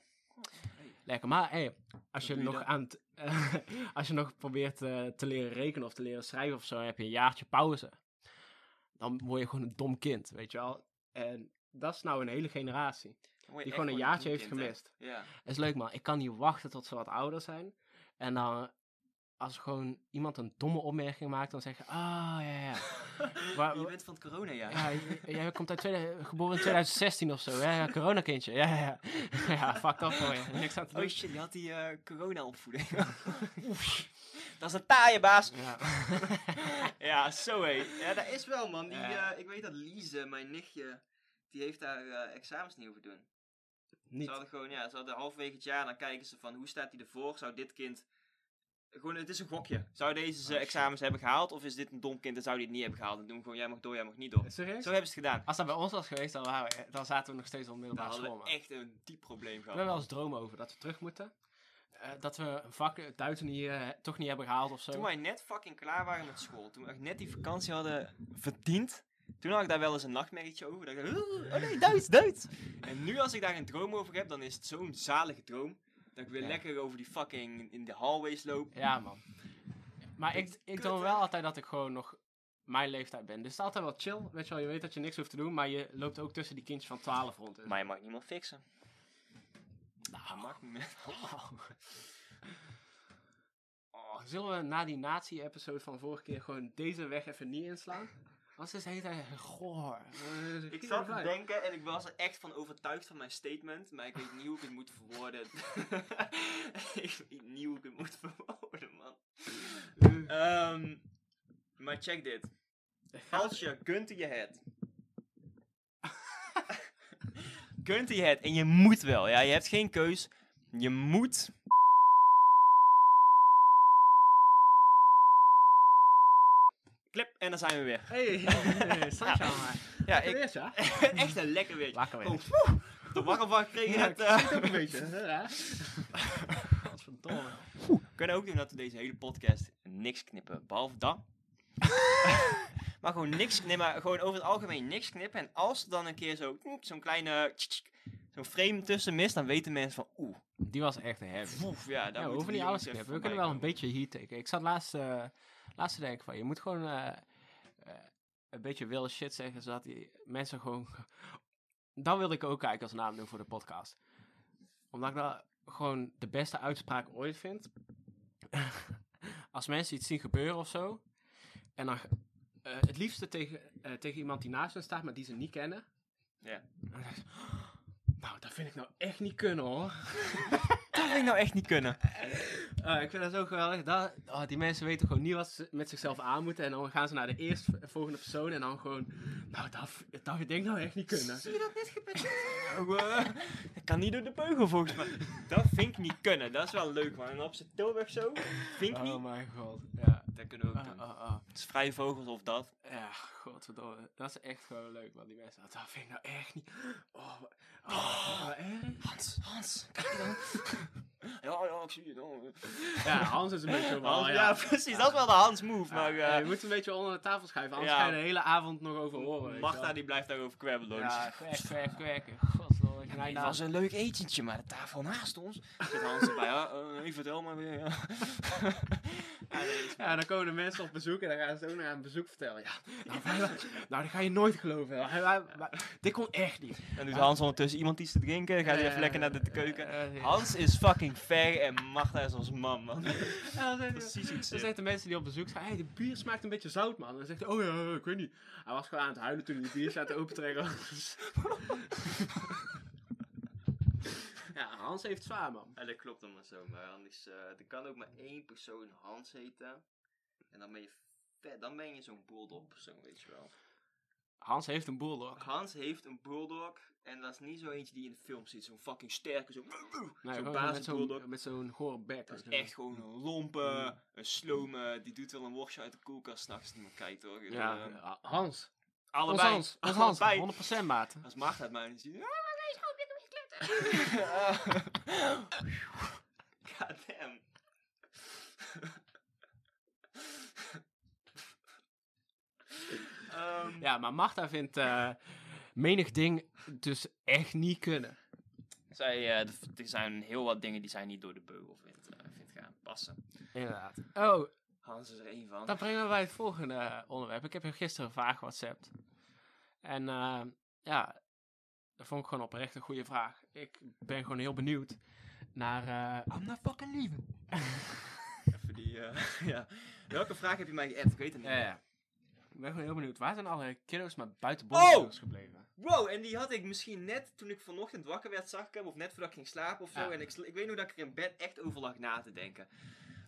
[SPEAKER 2] Lekker. Maar hey, als, je
[SPEAKER 1] doe je
[SPEAKER 2] nog
[SPEAKER 1] dan?
[SPEAKER 2] aan het, eh, als je nog probeert eh, te leren rekenen of te leren schrijven of zo, heb je een jaartje pauze. Dan word je gewoon een dom kind, weet je wel. En dat is nou een hele generatie.
[SPEAKER 1] Dan word je
[SPEAKER 2] Die
[SPEAKER 1] echt
[SPEAKER 2] gewoon een jaartje heeft
[SPEAKER 1] kind, hè.
[SPEAKER 2] gemist.
[SPEAKER 1] Ja.
[SPEAKER 2] Het is leuk, man. Ik kan niet wachten tot ze wat ouder zijn. En dan, als gewoon iemand een domme opmerking maakt, dan zeggen: Ah, ja, ja. Waar-
[SPEAKER 1] je bent van het corona, ja.
[SPEAKER 2] ja j- jij komt uit tweede, geboren in 2016 of zo. Ja, ja, coronakindje. Ja, ja, ja. Ja, fuck up voor je. Niks aan te
[SPEAKER 1] Oh
[SPEAKER 2] doen.
[SPEAKER 1] shit, die had die eh, corona-opvoeding. dat is een taaie, baas.
[SPEAKER 2] Ja.
[SPEAKER 1] ja, zo hé. Ja, dat is wel, man. Die,
[SPEAKER 2] Ja.
[SPEAKER 1] eh, ik weet dat Lize, mijn nichtje, die heeft daar eh, examens niet over doen. Ze
[SPEAKER 2] Niet.
[SPEAKER 1] hadden gewoon, ja, ze hadden halverwege het jaar, dan kijken ze van hoe staat hij ervoor? Zou dit kind. Gewoon, het is een gokje. Zou deze ze
[SPEAKER 2] Oh, shit.
[SPEAKER 1] examens hebben gehaald? Of is dit een dom kind en zou die het niet hebben gehaald? Dan doen we gewoon, jij mag door, jij mag niet door.
[SPEAKER 2] Serieus?
[SPEAKER 1] Zo hebben ze het gedaan.
[SPEAKER 2] Als dat bij ons was geweest, dan, waren we- dan zaten we nog steeds op
[SPEAKER 1] Daar
[SPEAKER 2] middelbare school.
[SPEAKER 1] hadden we
[SPEAKER 2] man.
[SPEAKER 1] Nou, echt een diep probleem
[SPEAKER 2] We
[SPEAKER 1] gehad.
[SPEAKER 2] hebben wel eens dromen over dat we terug moeten. Eh, dat we een vak eh, Duits niet, eh, toch niet hebben gehaald of zo.
[SPEAKER 1] Toen wij net fucking klaar waren met school, toen we echt net die vakantie hadden verdiend, toen had ik daar wel eens een nachtmerrietje over. Dat ik dacht, "Oeh, oh nee, Duits, Duits. En nu als ik daar een droom over heb, dan is het zo'n zalige droom. Dat ik weer
[SPEAKER 2] Ja.
[SPEAKER 1] lekker over die fucking in de hallways loop.
[SPEAKER 2] Ja, man. Maar
[SPEAKER 1] Dat
[SPEAKER 2] ik,
[SPEAKER 1] is
[SPEAKER 2] ik
[SPEAKER 1] kut,
[SPEAKER 2] droom
[SPEAKER 1] hè?
[SPEAKER 2] wel altijd dat ik gewoon nog mijn leeftijd ben. Dus het is altijd wel chill. Weet je wel, je weet dat je niks hoeft te doen, maar je loopt ook tussen die kindjes van 12 rond. En-
[SPEAKER 1] Maar je mag niemand fixen. Dat
[SPEAKER 2] Nou,
[SPEAKER 1] Ah, mag niet meer.
[SPEAKER 2] oh, zullen we na die nazi-episode van vorige keer gewoon deze weg even niet inslaan? Anders is de hele tijd eh, goor.
[SPEAKER 1] Ik zat te denken en ik was er echt van overtuigd van mijn statement, maar ik weet niet hoe ik het moet verwoorden. ik weet niet hoe ik het moet verwoorden, man. Ehm, maar check dit.
[SPEAKER 2] Eh,
[SPEAKER 1] Als je kunt in je het. kunt in je het. En je moet wel. Ja, je hebt geen keus. Je moet. Klip. En dan zijn we weer.
[SPEAKER 2] Hey, Sasha, maar.
[SPEAKER 1] Ja, ik,
[SPEAKER 2] Eerst, ja?
[SPEAKER 1] echt een lekker weertje.
[SPEAKER 2] Lekker
[SPEAKER 1] Gewoon, woe, ik heb er warm van gekregen.
[SPEAKER 2] Ja,
[SPEAKER 1] net,
[SPEAKER 2] ik
[SPEAKER 1] eh.
[SPEAKER 2] zit ook een beetje. hè? Godverdomme.
[SPEAKER 1] We kunnen ook doen dat we deze hele podcast niks knippen. Behalve dan. maar gewoon niks nee, maar gewoon over het algemeen niks knippen. En als er dan een keer zo, zo'n kleine, tsk, tsk, zo'n frame tussen mist, dan weten mensen van oeh,
[SPEAKER 2] Die was echt een heavy.
[SPEAKER 1] woef, ja, daar
[SPEAKER 2] Ja, we
[SPEAKER 1] moeten
[SPEAKER 2] hoeven niet alles te
[SPEAKER 1] jongens even
[SPEAKER 2] knippen. We kunnen wel een
[SPEAKER 1] voorbij
[SPEAKER 2] beetje heat taken. Ik zat laatst, eh laatst te denken van, je moet gewoon eh, eh, een beetje wilde shit zeggen, zodat die mensen gewoon... Dat wilde ik ook kijken als naam doen voor de podcast. Omdat ik dat gewoon de beste uitspraak ooit vind. als mensen iets zien gebeuren of zo, en dan eh, het liefste tegen, eh, tegen iemand die naast hen staat, maar die ze niet kennen.
[SPEAKER 1] Ja.
[SPEAKER 2] Dan zeg je, Nou, dat vind ik nou echt niet kunnen hoor.
[SPEAKER 1] komen. Dat wil ik nou echt niet kunnen.
[SPEAKER 2] Ah, ik vind dat zo geweldig. Dat, oh, die mensen weten gewoon niet wat ze met zichzelf aan moeten. En dan gaan ze naar de eerstvolgende persoon en dan gewoon... Nou, dat, dat denk ik nou echt niet kunnen.
[SPEAKER 1] Zie je dat net gebeurd? dat Nou, eh, kan niet door de beugel volgens mij. Dat vind ik niet kunnen. Dat is wel leuk man. En op zijn tilweg zo, vind ik niet.
[SPEAKER 2] mijn god. Ja.
[SPEAKER 1] Dat kunnen we ook
[SPEAKER 2] Oh, Ah,
[SPEAKER 1] doen.
[SPEAKER 2] ah, ah.
[SPEAKER 1] Het is vrije vogels of dat.
[SPEAKER 2] Ja, godverdomme. Dat is echt gewoon leuk, man. Die mensen, dat vind ik nou echt niet... Oh, wat- oh, wat erg.
[SPEAKER 1] Hans, Hans, kijk dan. ja, ja, ik zie Oh, je dan.
[SPEAKER 2] Ja, Hans is een beetje zo van,
[SPEAKER 1] Hans,
[SPEAKER 2] oh,
[SPEAKER 1] ja, precies. Dat is wel de Hans move. Maar
[SPEAKER 2] Ja,
[SPEAKER 1] eh,
[SPEAKER 2] je moet een beetje onder de tafel schuiven, anders
[SPEAKER 1] Ja.
[SPEAKER 2] ga je de hele avond nog over horen. weet je wel.
[SPEAKER 1] Magda die blijft daarover kwebbelen. hoor.
[SPEAKER 2] Ja, kwerk, kwerk, kwerk. Godverdomme. ik rijd
[SPEAKER 1] Het
[SPEAKER 2] daar-
[SPEAKER 1] was een leuk etentje, maar de tafel naast ons zit Hans erbij. Ja, eh, nee, vertel maar weer. Ja. Ja, nee, dat is-
[SPEAKER 2] Ja, dan komen de mensen op bezoek en dan gaan ze ook nog aan bezoek vertellen. Ja, nou, wij- nou, dat ga je nooit geloven. Wij- wij- wij- dit kon echt niet.
[SPEAKER 1] Dan doet Hans ondertussen iemand iets te drinken. Dan gaat hij even lekker naar de keuken.
[SPEAKER 2] Eh, eh,
[SPEAKER 1] Hans is fucking ver en Magda is ons man, man.
[SPEAKER 2] ja, dan zeggen-
[SPEAKER 1] Precies iets.
[SPEAKER 2] dan
[SPEAKER 1] eh.
[SPEAKER 2] zeggen de mensen die op bezoek zijn, hey, de bier smaakt een beetje zout, man. Dan zegt hij, oh ja, ik weet niet. Hij was gewoon aan het huilen toen hij de bier staat open trekken. ja, Hans heeft het zwaar, man.
[SPEAKER 1] Ja, dat klopt allemaal zo, maar anders, eh, er kan ook maar één persoon Hans heten. En dan ben je vet, dan ben je zo'n bulldog persoon, weet je wel.
[SPEAKER 2] Hans heeft een bulldog.
[SPEAKER 1] Hans heeft een bulldog en dat is niet zo eentje die je in de film ziet, zo'n fucking sterke, zo'n
[SPEAKER 2] Nee,
[SPEAKER 1] zo'n
[SPEAKER 2] gewoon met
[SPEAKER 1] basisbulldog.
[SPEAKER 2] zo'n, met zo'n gore bek.
[SPEAKER 1] Dat is echt gewoon een lompe, een slome, die doet wel een worstje uit de koelkast s'nachts, niemand kijkt hoor.
[SPEAKER 2] Ja,
[SPEAKER 1] Eh,
[SPEAKER 2] eh, Hans. Ons
[SPEAKER 1] allebei.
[SPEAKER 2] Hans. Ons Hans.
[SPEAKER 1] Allebei.
[SPEAKER 2] 100% maat.
[SPEAKER 1] Als Maarten het mij niet ziet. God damn. Ehm,
[SPEAKER 2] Ja, maar Marta vindt eh, menig ding dus echt niet kunnen.
[SPEAKER 1] zij, eh, d- er zijn heel wat dingen die zij niet door de beugel vindt, eh, vindt gaan passen.
[SPEAKER 2] Inderdaad. Oh,
[SPEAKER 1] Hans is er één van.
[SPEAKER 2] dat brengen we bij het volgende eh, onderwerp. Ik heb je gisteren vaag WhatsApp. En eh, ja, dat vond ik gewoon oprecht een goede vraag. Ik ben gewoon heel benieuwd naar... eh,
[SPEAKER 1] I'm not fucking leaving. Even die, eh, ja. Welke vraag heb je mij geappt? Ik weet het niet.
[SPEAKER 2] ja, ja. Ik ben gewoon heel benieuwd. Waar zijn alle kiddo's maar buiten
[SPEAKER 1] Oh!
[SPEAKER 2] boven gebleven?
[SPEAKER 1] Wow, en die had ik misschien net toen ik vanochtend wakker werd, zag ik hem. Of net voordat ik ging slapen of zo.
[SPEAKER 2] Ja.
[SPEAKER 1] En ik, sl- ik weet nog dat ik er in bed echt over lag na te denken.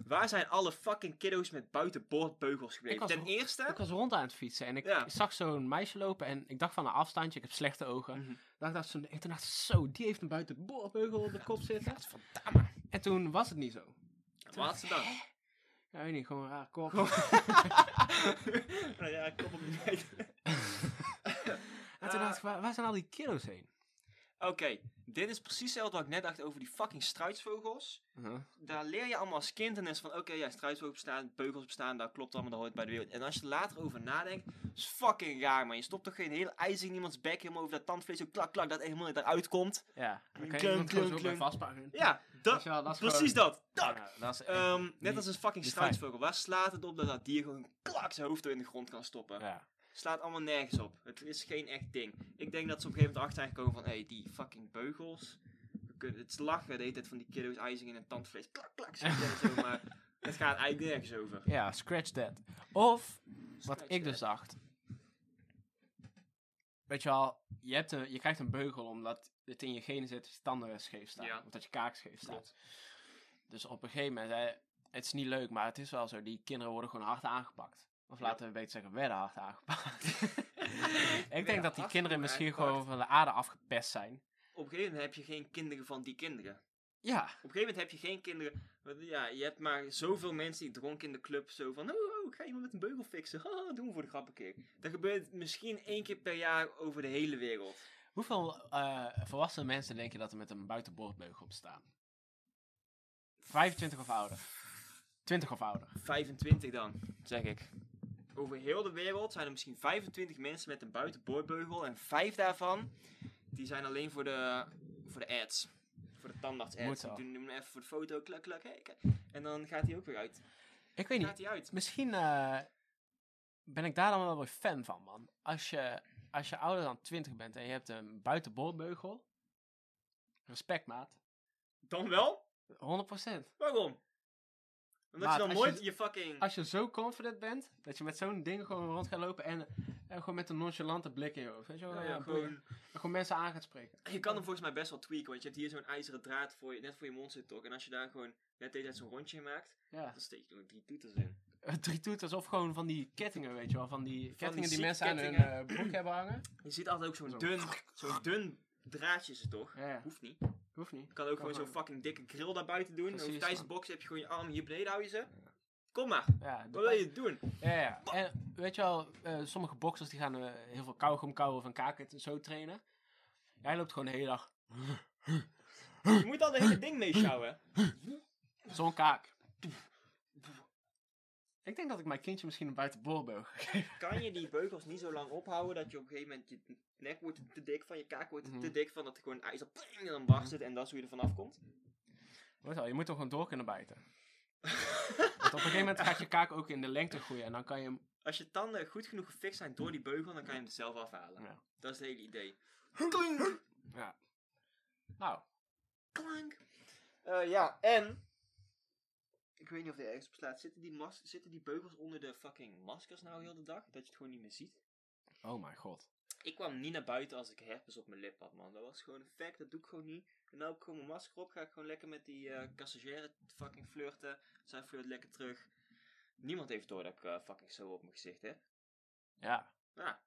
[SPEAKER 1] Waar zijn alle fucking kiddo's met buitenboordbeugels gebleven?
[SPEAKER 2] Ik was
[SPEAKER 1] Ten
[SPEAKER 2] nog-
[SPEAKER 1] eerste...
[SPEAKER 2] Ik was rond aan het fietsen en ik
[SPEAKER 1] Ja.
[SPEAKER 2] zag zo'n meisje lopen en ik dacht van een afstandje, ik heb slechte ogen.
[SPEAKER 1] Mhm.
[SPEAKER 2] Dacht dat ze, en toen dacht ik, zo, die heeft een buitenboordbeugel op de kop zitten.
[SPEAKER 1] Godverdamme.
[SPEAKER 2] En toen was het niet zo.
[SPEAKER 1] Wat had ze dan?
[SPEAKER 2] Ja, weet niet, gewoon een raar kop.
[SPEAKER 1] nou ja, ik kom op niet uit.
[SPEAKER 2] en toen dacht ik, waar, waar zijn al die kiddo's heen?
[SPEAKER 1] Oké, dit is precies hetzelfde wat ik net dacht over die fucking struisvogels. daar leer je allemaal als kind en is van, oké, ja, struisvogels bestaan, beugels bestaan, dat klopt allemaal, dat hoort bij de wereld. En als je er later over nadenkt, is fucking raar, man. Je stopt toch geen hele ijzer in iemands bek, helemaal over dat tandvlees, ook klak, klak, dat helemaal niet eruit komt.
[SPEAKER 2] Ja, dan kan je
[SPEAKER 1] Klunk,
[SPEAKER 2] iemand gewoon
[SPEAKER 1] klunk,
[SPEAKER 2] zo bij
[SPEAKER 1] klunk.
[SPEAKER 2] vastpakken.
[SPEAKER 1] Ja, dat,
[SPEAKER 2] Weet je wel, dat is
[SPEAKER 1] precies dat.
[SPEAKER 2] gewoon-
[SPEAKER 1] Tak.
[SPEAKER 2] Ja, dat is echt-
[SPEAKER 1] Ehm, net
[SPEAKER 2] niet-
[SPEAKER 1] als een fucking
[SPEAKER 2] niet
[SPEAKER 1] struisvogel. Waar slaat het op dat dat dier gewoon klak zijn hoofd door in de grond kan stoppen?
[SPEAKER 2] ja.
[SPEAKER 1] Slaat allemaal nergens op. Het is geen echt ding. Ik denk dat ze op een gegeven moment erachter zijn gekomen van, hé, hey, die fucking beugels. We kunnen, het is lachen de hele tijd van die kiddo's ijzing in een tandvlees. Klak, klak, zo, zo, maar het gaat eigenlijk nergens over.
[SPEAKER 2] ja, scratch that. Of, wat
[SPEAKER 1] Scratch
[SPEAKER 2] ik dus
[SPEAKER 1] that.
[SPEAKER 2] dacht. Weet je wel, je, hebt een, je krijgt een beugel omdat het in je genen zit dat je tanden scheef staan.
[SPEAKER 1] Ja.
[SPEAKER 2] Of dat je kaak scheef staat.
[SPEAKER 1] Klopt.
[SPEAKER 2] Dus op een gegeven moment, hè, het is niet leuk, maar het is wel zo. Die kinderen worden gewoon hard aangepakt. Of
[SPEAKER 1] Ja.
[SPEAKER 2] laten we beter zeggen, werden hard aangepakt. ik denk
[SPEAKER 1] Werden
[SPEAKER 2] dat die
[SPEAKER 1] hard
[SPEAKER 2] kinderen misschien gewoon
[SPEAKER 1] aangepakt.
[SPEAKER 2] van de aarde afgepest zijn.
[SPEAKER 1] Op een gegeven moment heb je geen kinderen van die kinderen.
[SPEAKER 2] Ja,
[SPEAKER 1] Op een gegeven moment heb je geen kinderen. want Ja, je hebt maar zoveel mensen die dronken in de club. Zo van, oh, oh, ik ga iemand met een beugel fixen. Haha, doen we voor de grap een keer. Dat gebeurt misschien één keer per jaar over de hele wereld.
[SPEAKER 2] hoeveel eh, volwassen mensen denk je dat er met een buitenboordbeugel op staan? 25 of ouder? 20 of ouder.
[SPEAKER 1] 25 dan, zeg ik. Over heel de wereld zijn er misschien 25 mensen met een buitenboordbeugel. En vijf daarvan, die zijn alleen voor de, voor de ads. Voor de tandarts
[SPEAKER 2] Moet
[SPEAKER 1] ads.
[SPEAKER 2] wel.
[SPEAKER 1] Die doen hem even voor de foto, klak, klak. hè, kijk. En dan gaat hij ook weer uit.
[SPEAKER 2] Ik weet
[SPEAKER 1] Gaat
[SPEAKER 2] niet,
[SPEAKER 1] hij uit.
[SPEAKER 2] misschien eh, ben ik daar dan wel weer fan van, man. Als je, als je ouder dan 20 bent en je hebt een buitenboordbeugel, respect, maat.
[SPEAKER 1] Dan wel?
[SPEAKER 2] 100%.
[SPEAKER 1] Waarom? Omdat
[SPEAKER 2] Maat,
[SPEAKER 1] je dan
[SPEAKER 2] als
[SPEAKER 1] nooit
[SPEAKER 2] je-
[SPEAKER 1] je, fucking...
[SPEAKER 2] Als je zo confident bent, dat je met zo'n ding gewoon rond gaat lopen en, en gewoon met een nonchalante blik in je hoofd. Weet je wel,
[SPEAKER 1] Ja,
[SPEAKER 2] ja,
[SPEAKER 1] ja,
[SPEAKER 2] boeien.
[SPEAKER 1] gewoon,
[SPEAKER 2] En gewoon mensen aan gaat spreken.
[SPEAKER 1] je kan hem volgens mij best wel tweaken, want je hebt hier zo'n ijzeren draad voor je, net voor je mond zit toch. En als je daar gewoon net deze tijd zo'n rondje in maakt,
[SPEAKER 2] Ja.
[SPEAKER 1] dan steek je er drie toeters in.
[SPEAKER 2] Drie toeters of gewoon van die kettingen, weet je wel. Van die kettingen die
[SPEAKER 1] zieke
[SPEAKER 2] mensen aan hun
[SPEAKER 1] kettingen.
[SPEAKER 2] eh, broek hebben hangen.
[SPEAKER 1] Je ziet altijd ook zo'n
[SPEAKER 2] Zo.
[SPEAKER 1] dun, zo'n dun draadje zit toch.
[SPEAKER 2] Ja, ja.
[SPEAKER 1] Hoeft niet.
[SPEAKER 2] hoeft niet.
[SPEAKER 1] Je kan ook gewoon
[SPEAKER 2] gewoon.
[SPEAKER 1] zo'n fucking dikke grill daar buiten doen.
[SPEAKER 2] Precies,
[SPEAKER 1] en tijdens de
[SPEAKER 2] man.
[SPEAKER 1] box heb je gewoon je arm hier beneden, hou je ze. Kom maar,
[SPEAKER 2] Ja,
[SPEAKER 1] wat wil je doen?
[SPEAKER 2] ja, ja. En weet je wel, eh, sommige boxers die gaan eh, heel veel kauwgom kauwen of een kaak en zo trainen. Jij loopt gewoon de hele dag
[SPEAKER 1] Je moet al de hele ding mee sjouwen.
[SPEAKER 2] zo'n kaak. Ik denk dat ik mijn kindje misschien een buitenboordbeugel geef.
[SPEAKER 1] Kan je die beugels niet zo lang ophouden dat je op een gegeven moment je nek wordt te dik van, je kaak wordt
[SPEAKER 2] Mhm.
[SPEAKER 1] te dik van, dat er gewoon ijzer en dan barst het en dat is hoe je er vanaf komt?
[SPEAKER 2] Weet wel, je moet hem gewoon door kunnen bijten. Want op een gegeven moment gaat je kaak ook in de lengte groeien en dan kan je hem...
[SPEAKER 1] Als je tanden goed genoeg gefixt zijn door die beugel, dan kan je hem er zelf afhalen.
[SPEAKER 2] Ja.
[SPEAKER 1] Dat is het hele idee. Klink!
[SPEAKER 2] Nou,
[SPEAKER 1] Klank! Eh, ja, en... Ik weet niet of die ergens op slaat. Zitten die, mas- zitten die beugels onder de fucking maskers nou heel de dag? Dat je het gewoon niet meer ziet?
[SPEAKER 2] oh mijn god.
[SPEAKER 1] Ik kwam niet naar buiten als ik herpes op mijn lip had, man. Dat was gewoon een fact, dat doe ik gewoon niet. En nou heb ik gewoon mijn masker op, ga ik gewoon lekker met die eh cassagière fucking flirten. Zij flirt lekker terug. Niemand heeft door dat ik eh, fucking zo op mijn gezicht heb.
[SPEAKER 2] Ja.
[SPEAKER 1] Ja.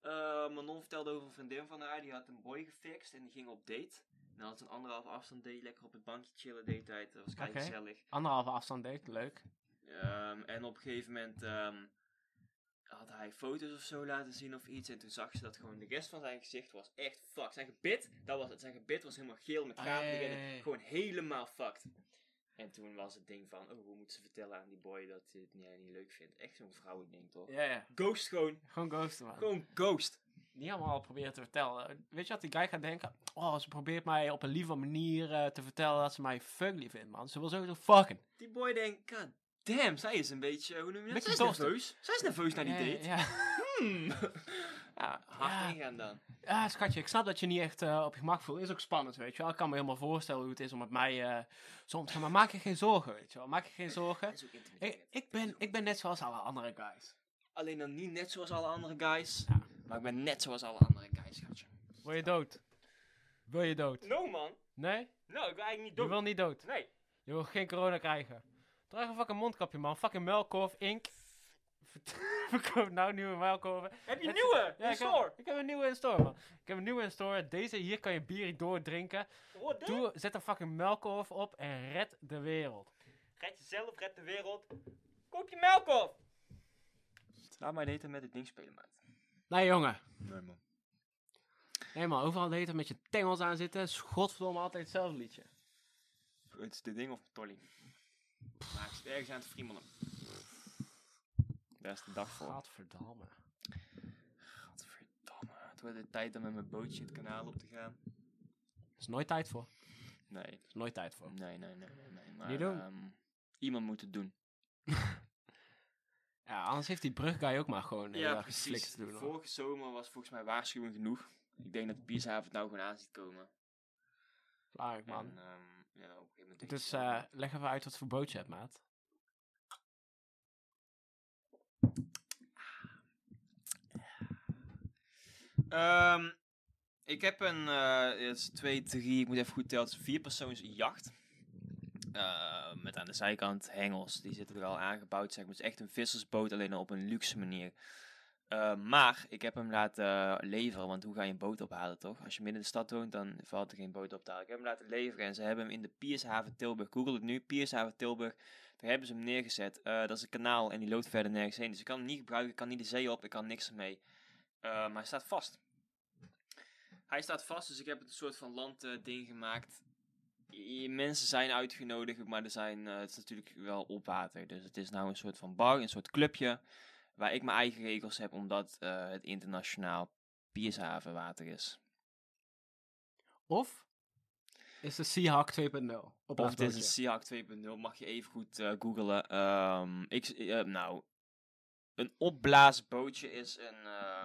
[SPEAKER 1] Eh, Manon vertelde over een vriendin van haar, die had een boy gefixt en die ging op date. En dan had ze een anderhalve afstand date, lekker op het bankje chillen de hele tijd. Dat was kei
[SPEAKER 2] Oké.
[SPEAKER 1] gezellig.
[SPEAKER 2] Anderhalve afstand date, leuk.
[SPEAKER 1] Ehm, en op een gegeven moment ehm, had hij foto's of zo laten zien of iets. En toen zag ze dat gewoon de rest van zijn gezicht was echt fucked. Zijn gebit, dat was het. Zijn gebit was helemaal geel met gaten erin.
[SPEAKER 2] Ei.
[SPEAKER 1] Gewoon helemaal fucked. En toen was het ding van, oh, hoe moet ze vertellen aan die boy dat hij het niet, niet leuk vindt? Echt zo'n vrouwending, toch?
[SPEAKER 2] Ja, ja.
[SPEAKER 1] Ghost gewoon.
[SPEAKER 2] Gewoon ghosten, man.
[SPEAKER 1] Gewoon ghost.
[SPEAKER 2] Niet allemaal proberen te vertellen. Weet je wat die guy gaat denken? Oh, ze probeert mij op een lieve manier eh, te vertellen dat ze mij fuckly vindt, man. Ze wil sowieso fucking.
[SPEAKER 1] Die boy denkt, god damn, zij is een beetje, hoe noem je dat?
[SPEAKER 2] Beetje
[SPEAKER 1] Zij is
[SPEAKER 2] toasty.
[SPEAKER 1] nerveus. Zij is nerveus naar die
[SPEAKER 2] Ja,
[SPEAKER 1] date.
[SPEAKER 2] Ja, ja.
[SPEAKER 1] Hmm.
[SPEAKER 2] Ja,
[SPEAKER 1] Hard
[SPEAKER 2] ja.
[SPEAKER 1] ingaan dan.
[SPEAKER 2] Ja, Ah, schatje, ik snap dat je niet echt eh, op je gemak voelt. Is ook spannend, weet je wel. Ik kan me helemaal voorstellen hoe het is om met mij eh, soms... Maar maak je geen zorgen, weet je wel. Maak je geen zorgen.
[SPEAKER 1] Dat is ook
[SPEAKER 2] Ik,
[SPEAKER 1] intimiderend.
[SPEAKER 2] ik, ben, ik ben net zoals alle andere guys.
[SPEAKER 1] Alleen dan niet net zoals alle andere guys.
[SPEAKER 2] Ja.
[SPEAKER 1] Maar ik ben net zoals alle andere guys, schatje.
[SPEAKER 2] Wil je dood? Wil je dood?
[SPEAKER 1] No man.
[SPEAKER 2] Nee?
[SPEAKER 1] Nou, ik wil eigenlijk niet
[SPEAKER 2] Je wil niet dood.
[SPEAKER 1] Nee.
[SPEAKER 2] Je wil geen corona krijgen. Draag een fucking mondkapje, man. Fucking melkkorf, ink. Verkoop nou nieuwe melkkorven.
[SPEAKER 1] Heb
[SPEAKER 2] je
[SPEAKER 1] nieuwe?
[SPEAKER 2] ik, heb, ik heb een nieuwe in store, man. Ik heb een nieuwe in store. Deze hier kan je bier doordrinken.
[SPEAKER 1] Hoor
[SPEAKER 2] Doe, zet een fucking melkkorf op en red de wereld.
[SPEAKER 1] Red jezelf, red de wereld. Koop je melk op. Laat mij daten met het ding spelen, maat.
[SPEAKER 2] Nee, jongen.
[SPEAKER 1] Nee, man.
[SPEAKER 2] Nee, man. Overal de hele tijd met je tengels aan zitten. Godverdomme, altijd hetzelfde liedje.
[SPEAKER 1] Het is dit ding of Tolly? Maar ik zit ergens aan het friemelen. Daar is de dag voor.
[SPEAKER 2] Godverdamme.
[SPEAKER 1] Godverdamme. Het wordt de tijd om met mijn bootje het kanaal op te gaan.
[SPEAKER 2] Er is nooit tijd voor.
[SPEAKER 1] Nee,
[SPEAKER 2] Er is nooit tijd voor.
[SPEAKER 1] nee, nee, nee. nee, nee. Maar,
[SPEAKER 2] Oh. Niet doen.
[SPEAKER 1] ehm, iemand moet het doen.
[SPEAKER 2] Ja, anders heeft die brugguy ook maar gewoon heel erg fliks te doen. hoor.
[SPEAKER 1] Vorige zomer was volgens mij waarschuwing genoeg. Ik denk dat de biersavond nou gewoon aan ziet komen.
[SPEAKER 2] Klaar, man.
[SPEAKER 1] En, ehm, ja, op een gegeven moment denk
[SPEAKER 2] Dus
[SPEAKER 1] ik,
[SPEAKER 2] eh, leg even uit wat voor boot je hebt, maat.
[SPEAKER 1] Ehm, ik heb een, eh het is twee, drie, ik moet even goed tellen, het is een vierpersoons jacht. Eh, met aan de zijkant hengels, die zitten er al aangebouwd, zeg maar. Het is echt een vissersboot, alleen dan op een luxe manier. Eh, maar ik heb hem laten leveren, want hoe ga je een boot ophalen, toch? Als je midden in de stad woont, dan valt er geen boot op te halen. Ik heb hem laten leveren en ze hebben hem in de Piershaven Tilburg, google het nu, Piershaven Tilburg, daar hebben ze hem neergezet. Eh, dat is een kanaal en die loopt verder nergens heen, dus ik kan hem niet gebruiken, ik kan niet de zee op, ik kan niks ermee. Eh, maar hij staat vast. Hij staat vast, dus ik heb het een soort van landding ding gemaakt. I- mensen zijn uitgenodigd, maar er zijn, eh, het is natuurlijk wel op water. Dus het is nou een soort van bar, een soort clubje. Waar ik mijn eigen regels heb, omdat eh, het internationaal Piershavenwater is.
[SPEAKER 2] Of is de Seahawk 2.0 op
[SPEAKER 1] Of
[SPEAKER 2] ons
[SPEAKER 1] dit is een Seahawk
[SPEAKER 2] bootje?
[SPEAKER 1] 2.0, mag je even goed eh googlen. Ehm, ik, z- eh, nou, een opblaasbootje is een, eh,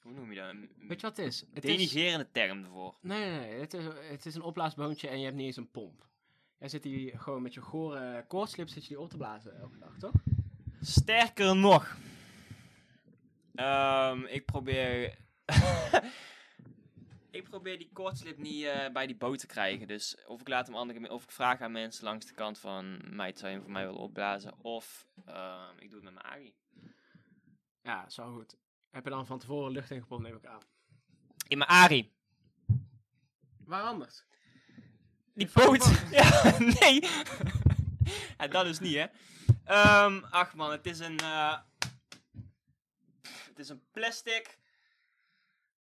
[SPEAKER 1] hoe noem je dat? Een, een
[SPEAKER 2] Weet je wat het is? Het is
[SPEAKER 1] denigerende term ervoor.
[SPEAKER 2] nee, nee, nee. Het is, het is een opblaasboontje en je hebt niet eens een pomp. Jij zit hier gewoon met je gore koortslip zit je die op te blazen elke dag, toch?
[SPEAKER 1] Sterker nog. Ehm, ik probeer. ik probeer die kortslip niet eh, bij die boot te krijgen. Dus of ik laat hem andere, me- of ik vraag aan mensen langs de kant van meid zou je hem voor mij willen opblazen. Of ehm, ik doe het met mijn Ari.
[SPEAKER 2] Ja, zo goed. Heb je dan van tevoren lucht ingepompt, neem ik aan.
[SPEAKER 1] In mijn Ari.
[SPEAKER 2] Waar anders?
[SPEAKER 1] Die
[SPEAKER 2] fucking
[SPEAKER 1] boot. ja, nee. en dat is niet, hè. Ehm, ach man, het is een... eh, pff, het is een plastic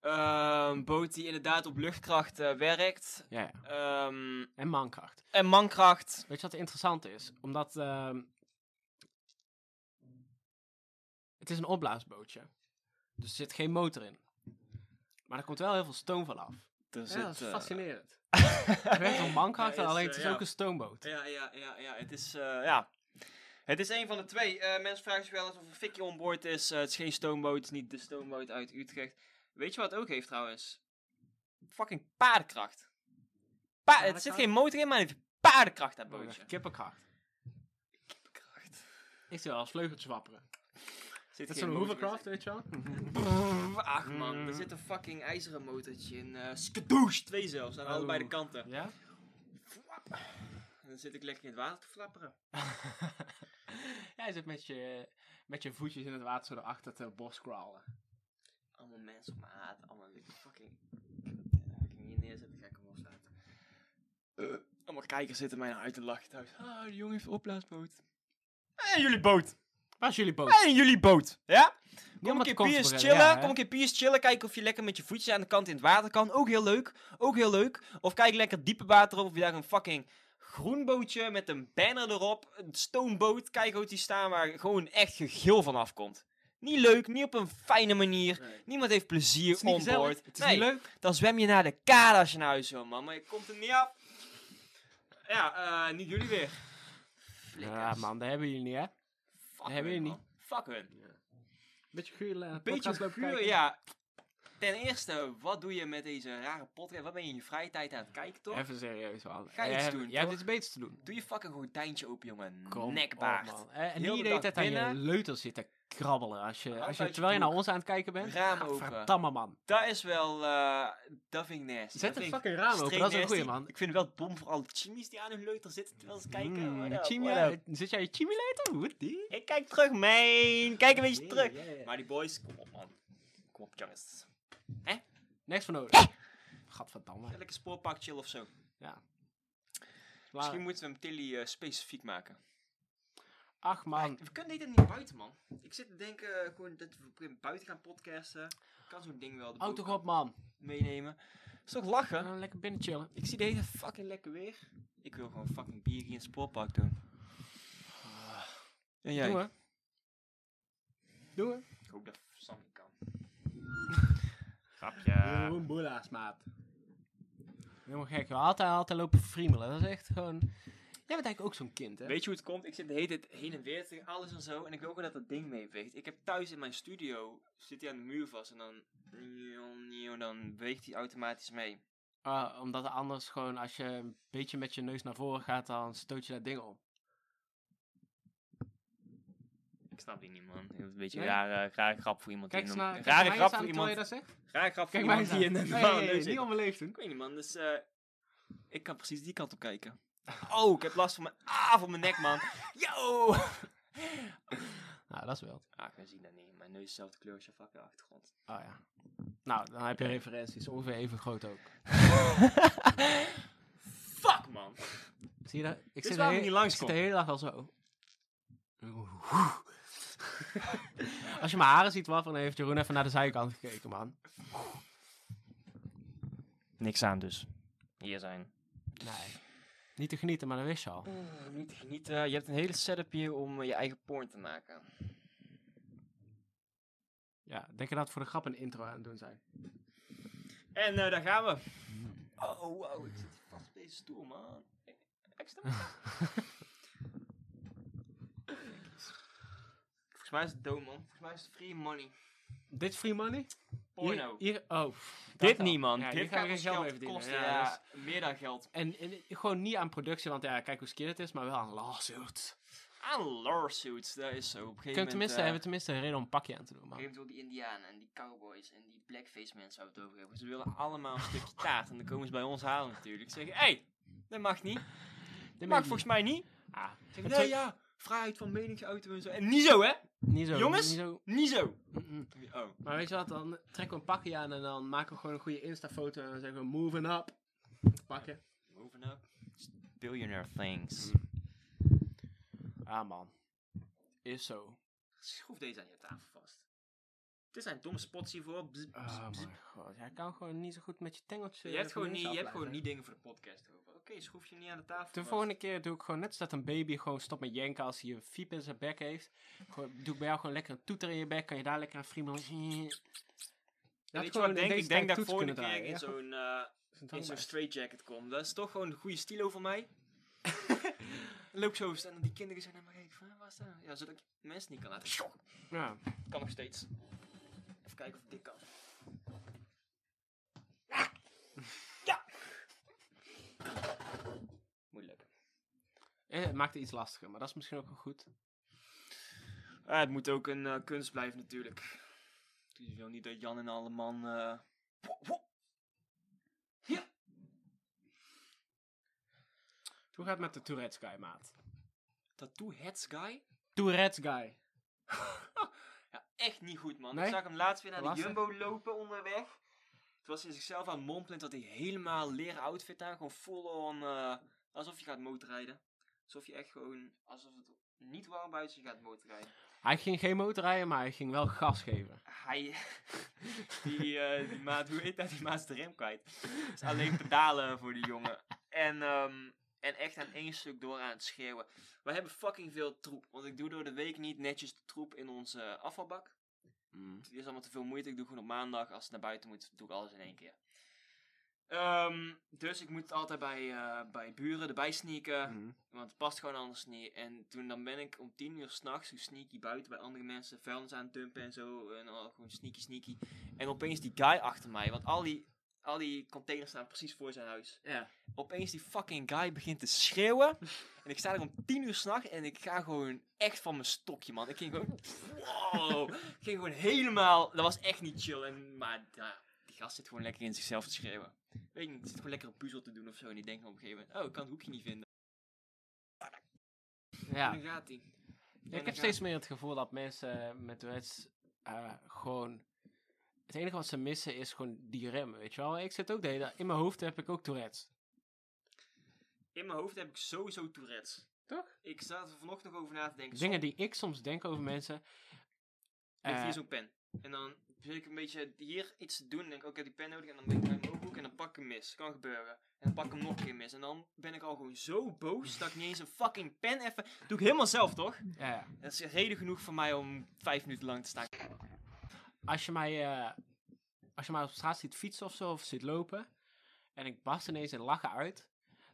[SPEAKER 1] ehm, boot die inderdaad op luchtkracht eh, werkt.
[SPEAKER 2] Ja, ja.
[SPEAKER 1] Ehm,
[SPEAKER 2] En mankracht.
[SPEAKER 1] en mankracht.
[SPEAKER 2] Weet je wat interessant is? Omdat ehm, het is een opblaasbootje. Dus er zit geen motor in. Maar er komt wel heel veel stoom van af.
[SPEAKER 1] Er
[SPEAKER 2] Ja, dat is
[SPEAKER 1] eh,
[SPEAKER 2] fascinerend. Het werkt om mankracht,
[SPEAKER 1] Ja, is,
[SPEAKER 2] alleen
[SPEAKER 1] eh,
[SPEAKER 2] het is
[SPEAKER 1] ja.
[SPEAKER 2] ook een stoomboot.
[SPEAKER 1] Ja, ja, ja, ja. Het is, eh, ja. Het is een van de twee. Eh, mensen vragen zich wel eens of een fikje onboord is. Eh, het is geen stoomboot, het is niet de stoomboot uit Utrecht. Weet je wat het ook heeft trouwens? Fucking paardenkracht. Pa het zit
[SPEAKER 2] Paardenkracht?
[SPEAKER 1] geen motor in, maar het heeft paardenkracht dat bootje.
[SPEAKER 2] Kippenkracht. Kippenkracht.
[SPEAKER 1] Kracht.
[SPEAKER 2] Ik zit wel als vleugeltje wapperen.
[SPEAKER 1] Zit
[SPEAKER 2] Dat is
[SPEAKER 1] geen
[SPEAKER 2] een Mm.
[SPEAKER 1] motor in.
[SPEAKER 2] hovercraft, weet je wel?
[SPEAKER 1] Brrr, Ach man, er zit een fucking ijzeren motortje in. eh skadoosh, twee zelfs, aan
[SPEAKER 2] Oh.
[SPEAKER 1] allebei de kanten.
[SPEAKER 2] Ja?
[SPEAKER 1] Flap. En dan zit ik lekker in het water te flapperen.
[SPEAKER 2] Jij zit met je, met je voetjes in het water zo erachter te bos crawlen.
[SPEAKER 1] Allemaal mensen op mijn haat, allemaal die fucking. Ga ik hem hier neerzetten, ga ik hem loslaten. Eh, allemaal kijkers zitten mij naar uit te lachen thuis. Ah, die jongen heeft een opblaasboot. En jullie boot!
[SPEAKER 2] Waar is jullie boot?
[SPEAKER 1] En jullie boot! Ja? Kom een
[SPEAKER 2] wat
[SPEAKER 1] keer
[SPEAKER 2] kansen
[SPEAKER 1] piers
[SPEAKER 2] brengen,
[SPEAKER 1] chillen,
[SPEAKER 2] ja, hè?
[SPEAKER 1] kom een keer piers chillen, kijken of je lekker met je voetjes aan de kant in het water kan. Ook heel leuk, ook heel leuk. Of kijk lekker diepe water op of je daar een fucking groen bootje met een banner erop. Een stoomboot, kijk hoe die staan waar gewoon echt gegil van afkomt. Niet leuk, niet op een fijne manier. Niemand heeft plezier
[SPEAKER 2] Het is niet
[SPEAKER 1] on
[SPEAKER 2] gezellig,
[SPEAKER 1] board.
[SPEAKER 2] het is
[SPEAKER 1] Nee,
[SPEAKER 2] niet leuk.
[SPEAKER 1] dan zwem je naar de kade als je naar huis wil, man. Maar je komt er niet af. Ja, eh, niet jullie weer.
[SPEAKER 2] Ja, man, dat hebben jullie niet, hè?
[SPEAKER 1] Fuck
[SPEAKER 2] hebben
[SPEAKER 1] hun,
[SPEAKER 2] jullie
[SPEAKER 1] man. Fuck hun.
[SPEAKER 2] Beetje eh, guur,
[SPEAKER 1] Een beetje puur, ja. Ten eerste, wat doe je met deze rare podcast? Wat ben je in je vrije tijd aan het kijken, toch?
[SPEAKER 2] Even serieus, man.
[SPEAKER 1] Ga iets
[SPEAKER 2] Jij-
[SPEAKER 1] doen,
[SPEAKER 2] Jij hebt
[SPEAKER 1] toch?
[SPEAKER 2] iets beters te doen.
[SPEAKER 1] Doe je fucking gordijntje open, jongen.
[SPEAKER 2] Kom
[SPEAKER 1] Nekbaard.
[SPEAKER 2] op, man. Eh, En
[SPEAKER 1] Heel
[SPEAKER 2] die
[SPEAKER 1] de
[SPEAKER 2] idee
[SPEAKER 1] dag
[SPEAKER 2] dat aan je
[SPEAKER 1] binnen.
[SPEAKER 2] leuter zit te krabbelen. Als je,
[SPEAKER 1] Hand
[SPEAKER 2] als je,
[SPEAKER 1] uit je
[SPEAKER 2] terwijl je naar
[SPEAKER 1] broek.
[SPEAKER 2] ons aan het kijken bent.
[SPEAKER 1] Raam open.
[SPEAKER 2] Verdamme, man.
[SPEAKER 1] dat is wel... eh dat vind ik nasty.
[SPEAKER 2] Zet
[SPEAKER 1] Dat
[SPEAKER 2] het
[SPEAKER 1] vind ik
[SPEAKER 2] fucking raam open,
[SPEAKER 1] streng
[SPEAKER 2] dat is een
[SPEAKER 1] nasty.
[SPEAKER 2] goeie, man.
[SPEAKER 1] Ik vind het wel dom voor alle chimies die aan hun leuter zitten terwijl ze kijken.
[SPEAKER 2] Mm,
[SPEAKER 1] What up,
[SPEAKER 2] chimie-
[SPEAKER 1] what up?
[SPEAKER 2] Zit jij je chimulator? Wat die?
[SPEAKER 1] Ik kijk terug, man. Kijk een beetje
[SPEAKER 2] Yeah,
[SPEAKER 1] terug.
[SPEAKER 2] yeah, yeah.
[SPEAKER 1] Maar die boys, kom op, man. Kom op, jongens.
[SPEAKER 2] Niks van nodig. Gadverdamme.
[SPEAKER 1] Lekker spoorpark chill of zo. Misschien
[SPEAKER 2] Misschien...
[SPEAKER 1] moeten we hem Tilly eh, specifiek maken.
[SPEAKER 2] Ach,
[SPEAKER 1] Maar
[SPEAKER 2] man.
[SPEAKER 1] ik- we kunnen dit niet buiten, man. Ik zit te denken eh, gewoon dat we buiten gaan podcasten. Ik kan zo'n ding wel de
[SPEAKER 2] Houd toch
[SPEAKER 1] bovenkant
[SPEAKER 2] op, man.
[SPEAKER 1] meenemen. Is toch lachen?
[SPEAKER 2] Eh, Lekker binnen chillen.
[SPEAKER 1] Ik zie deze fucking lekker weer. Ik wil gewoon fucking bier in het spoorpark doen. Ah. En jij?
[SPEAKER 2] Doe hè. Doe hè.
[SPEAKER 1] Ik hoop dat Sam niet kan. Grapje.
[SPEAKER 2] Gewoon boela's, maat. Helemaal gek. joh. Altijd, altijd lopen friemelen. Dat is echt gewoon... Jij bent eigenlijk ook zo'n kind, hè?
[SPEAKER 1] Weet je hoe het komt? Ik zit de hele tijd heen en weer tegen alles en zo. En ik wil ook wel dat dat ding meebeweegt. Ik heb thuis in mijn studio, zit hij aan de muur vast. En dan, dan beweegt hij automatisch mee.
[SPEAKER 2] Ah, omdat anders gewoon, als je een beetje met je neus naar voren gaat, dan stoot je dat ding om.
[SPEAKER 1] Ik snap die niet, man. Dat is een beetje
[SPEAKER 2] Nee?
[SPEAKER 1] een rare, rare grap voor iemand.
[SPEAKER 2] Kijk
[SPEAKER 1] die
[SPEAKER 2] eens
[SPEAKER 1] in een-
[SPEAKER 2] naar... kijk
[SPEAKER 1] rare
[SPEAKER 2] mij
[SPEAKER 1] grap
[SPEAKER 2] eens
[SPEAKER 1] voor
[SPEAKER 2] aan terwijl je
[SPEAKER 1] iemand.
[SPEAKER 2] dat zegt.
[SPEAKER 1] Rare grap voor
[SPEAKER 2] Kijk mij
[SPEAKER 1] iemand.
[SPEAKER 2] eens hier.
[SPEAKER 1] die
[SPEAKER 2] Nee,
[SPEAKER 1] in
[SPEAKER 2] nee,
[SPEAKER 1] een
[SPEAKER 2] nee,
[SPEAKER 1] neus
[SPEAKER 2] niet
[SPEAKER 1] zit.
[SPEAKER 2] onbeleefd doen.
[SPEAKER 1] Ik weet niet, man. Dus eh, ik kan precies die kant op kijken. Oh, ik heb last van mijn... Ah, van mijn nek, man. Yo!
[SPEAKER 2] Nou, dat is wel.
[SPEAKER 1] Ah, ik zie dat niet. Mijn neus is dezelfde kleur als je fucking achtergrond.
[SPEAKER 2] Oh ja. Nou, dan heb je referenties. Ongeveer even groot ook.
[SPEAKER 1] Fuck, man.
[SPEAKER 2] Zie je dat? Ik
[SPEAKER 1] is
[SPEAKER 2] zit, de,
[SPEAKER 1] waarom
[SPEAKER 2] he-
[SPEAKER 1] ik niet
[SPEAKER 2] ik zit
[SPEAKER 1] langskom.
[SPEAKER 2] de hele dag al zo. Als je mijn haren ziet wapperen, dan heeft Jeroen even naar de zijkant gekeken, man.
[SPEAKER 1] Niks aan dus. Hier zijn.
[SPEAKER 2] Nee. Niet te genieten, maar dat wist je al.
[SPEAKER 1] niet te genieten. Je hebt een hele setup hier om eh, je eigen porn te maken.
[SPEAKER 2] Ja, denk je dat we voor de grap een intro aan het doen zijn?
[SPEAKER 1] En eh, daar gaan we. Oh, wow. Ik zit hier vast op deze stoel, man. Extra. Volgens mij is het dood, man. Volgens mij is het free money.
[SPEAKER 2] Dit is free money?
[SPEAKER 1] Porno.
[SPEAKER 2] Hier, hier- oh. pff, dat
[SPEAKER 1] Dit
[SPEAKER 2] wel.
[SPEAKER 1] niet, man.
[SPEAKER 2] Ja,
[SPEAKER 1] Dit
[SPEAKER 2] hier
[SPEAKER 1] gaat
[SPEAKER 2] gaan we geen
[SPEAKER 1] ons
[SPEAKER 2] geld
[SPEAKER 1] geld
[SPEAKER 2] mee verdienen.
[SPEAKER 1] kosten.
[SPEAKER 2] Ja,
[SPEAKER 1] Ja,
[SPEAKER 2] dat is-
[SPEAKER 1] meer dan geld.
[SPEAKER 2] en, en gewoon niet aan productie, want ja, kijk hoe skeer het is, maar wel aan lawsuits.
[SPEAKER 1] Aan Ah, lawsuits, dat is zo. Op een
[SPEAKER 2] Je
[SPEAKER 1] gegeven
[SPEAKER 2] kunt
[SPEAKER 1] moment...
[SPEAKER 2] tenminste,
[SPEAKER 1] eh,
[SPEAKER 2] hebben tenminste een reden om een pakje aan te doen,
[SPEAKER 1] Op
[SPEAKER 2] man.
[SPEAKER 1] een gegeven moment wil die Indianen en die cowboys en die blackface mensen waar we het over hebben. Ze willen allemaal een stukje taart en dan komen ze bij ons halen natuurlijk. Ze zeggen, hé, hey, dat mag niet.
[SPEAKER 2] Dit
[SPEAKER 1] Dat mag volgens mij niet.
[SPEAKER 2] Ah,
[SPEAKER 1] Ze zeggen,
[SPEAKER 2] het
[SPEAKER 1] nee,
[SPEAKER 2] zou-
[SPEAKER 1] ja, vrijheid van meningsuiting en zo. En niet zo, hè?
[SPEAKER 2] Niet zo.
[SPEAKER 1] Jongens?
[SPEAKER 2] Niet zo,
[SPEAKER 1] Niet zo.
[SPEAKER 2] Mm, mm.
[SPEAKER 1] Oh.
[SPEAKER 2] Maar weet je wat, dan trekken we een pakje aan en dan maken we gewoon een goede Insta-foto en dan zeggen we moving up. Pakken.
[SPEAKER 1] Moving up. Billionaire things.
[SPEAKER 2] Ah man. Is zo.
[SPEAKER 1] Schroef deze aan je tafel vast. Dit zijn domme spots hiervoor. Bzz, bzz,
[SPEAKER 2] Oh
[SPEAKER 1] bzz.
[SPEAKER 2] mijn god. Jij kan gewoon niet zo goed met je eh, tengeltje.
[SPEAKER 1] Je hebt, gewoon niet, je hebt gewoon
[SPEAKER 2] afleiden.
[SPEAKER 1] niet dingen voor de podcast over. Oké, schroef je niet aan de tafel
[SPEAKER 2] De
[SPEAKER 1] vast.
[SPEAKER 2] volgende keer doe ik gewoon net als dat een baby gewoon stopt met jenken als hij een fiep in zijn bek heeft. Gewoon, doe ik bij jou gewoon lekker een toeter in je bek. Kan je daar lekker aan friemelen.
[SPEAKER 1] Ja, Weet je wat ik denk? Ik denk dat ik volgende keer in zo'n... eh, in zo'n
[SPEAKER 2] Zo'n
[SPEAKER 1] straightjacket komt. Dat is toch gewoon een goede stilo van mij. Loop zo staan en die kinderen zijn naar me kijken van, "Hè, waar is dat? Ja, zodat ik mensen niet kan laten. Sjoe.
[SPEAKER 2] ja.
[SPEAKER 1] Kan nog steeds. Even kijken of ik dit kan. Ah! Ja! Moet lukken.
[SPEAKER 2] Eh, Het maakt het iets lastiger, maar dat is misschien ook wel goed.
[SPEAKER 1] Ah, het moet ook een eh, kunst blijven natuurlijk. Je wil niet dat Jan en alle man... eh, wo- wo-
[SPEAKER 2] Hoe gaat het met de Tourette's guy, maat?
[SPEAKER 1] Tattoo Heads Guy?
[SPEAKER 2] Tourette's guy.
[SPEAKER 1] Ja, echt niet goed, man.
[SPEAKER 2] Nee?
[SPEAKER 1] Ik zag hem laatst weer naar de
[SPEAKER 2] Lastig.
[SPEAKER 1] Jumbo lopen onderweg. Toen was hij zichzelf aan het mompelen dat hij helemaal leren outfit aan. Gewoon full on, eh, alsof je gaat motorrijden. Alsof je echt gewoon, alsof het niet warm buiten is, je gaat motorrijden.
[SPEAKER 2] Hij ging geen motor rijden, maar hij ging wel gas geven.
[SPEAKER 1] Hij, die, eh, die maat, hoe heet dat? Die maat is de rem kwijt. Dus alleen pedalen voor die jongen. En ehm, En echt aan één stuk door aan het schreeuwen. We hebben fucking veel troep. Want ik doe door de week niet netjes de troep in onze eh, afvalbak.
[SPEAKER 2] Mm.
[SPEAKER 1] Het is allemaal te veel moeite. Ik doe gewoon op maandag. Als het naar buiten moet, doe ik alles in één keer. Ehm, dus ik moet het altijd bij, eh, bij buren erbij sneaken.
[SPEAKER 2] Mm.
[SPEAKER 1] Want het past gewoon anders niet. En toen dan ben ik om tien uur s'nachts zo sneaky buiten bij andere mensen. Vuilnis aan het dumpen en zo. En al gewoon sneaky sneaky. En opeens die guy achter mij. Want al die, al die containers staan precies voor zijn huis.
[SPEAKER 2] Ja.
[SPEAKER 1] Opeens die fucking guy begint te schreeuwen. en ik sta er om tien uur s'nachts. En ik ga gewoon echt van mijn stokje man. Ik ging gewoon... Wow. ik ging gewoon helemaal... Dat was echt niet chill. En, maar ja, die gast zit gewoon lekker in zichzelf te schreeuwen. Weet ik niet. Zit gewoon lekker een puzzel te doen of zo. En die denkt op een gegeven moment... Oh, ik kan het hoekje niet vinden. En
[SPEAKER 2] ja.
[SPEAKER 1] dan gaat hij.
[SPEAKER 2] Ik heb steeds meer het gevoel dat mensen met Reds eh, gewoon... Het enige wat ze missen is gewoon die rem, weet je wel. Ik zit ook de hele... In mijn hoofd heb ik ook Tourette's.
[SPEAKER 1] In mijn hoofd heb ik sowieso Tourette's.
[SPEAKER 2] Toch?
[SPEAKER 1] Ik sta er vanochtend nog over na te denken.
[SPEAKER 2] Dingen die ik soms denk over mensen...
[SPEAKER 1] Soms Mhm. ligt
[SPEAKER 2] eh,
[SPEAKER 1] hier zo'n pen. En dan zit ik een beetje hier iets te doen. En denk ik, oké, die pen nodig. En dan ben ik bij mijn ooghoek en dan pak ik hem mis. Kan gebeuren. En dan pak ik hem nog een keer mis. En dan ben ik al gewoon zo boos dat ik niet eens een fucking pen even... Doe ik helemaal zelf, toch?
[SPEAKER 2] ja, ja.
[SPEAKER 1] Dat is reden genoeg voor mij om vijf minuten lang te staan.
[SPEAKER 2] als je mij, eh, als je mij op straat ziet fietsen of zo, of ziet lopen, en ik barst ineens in lachen uit,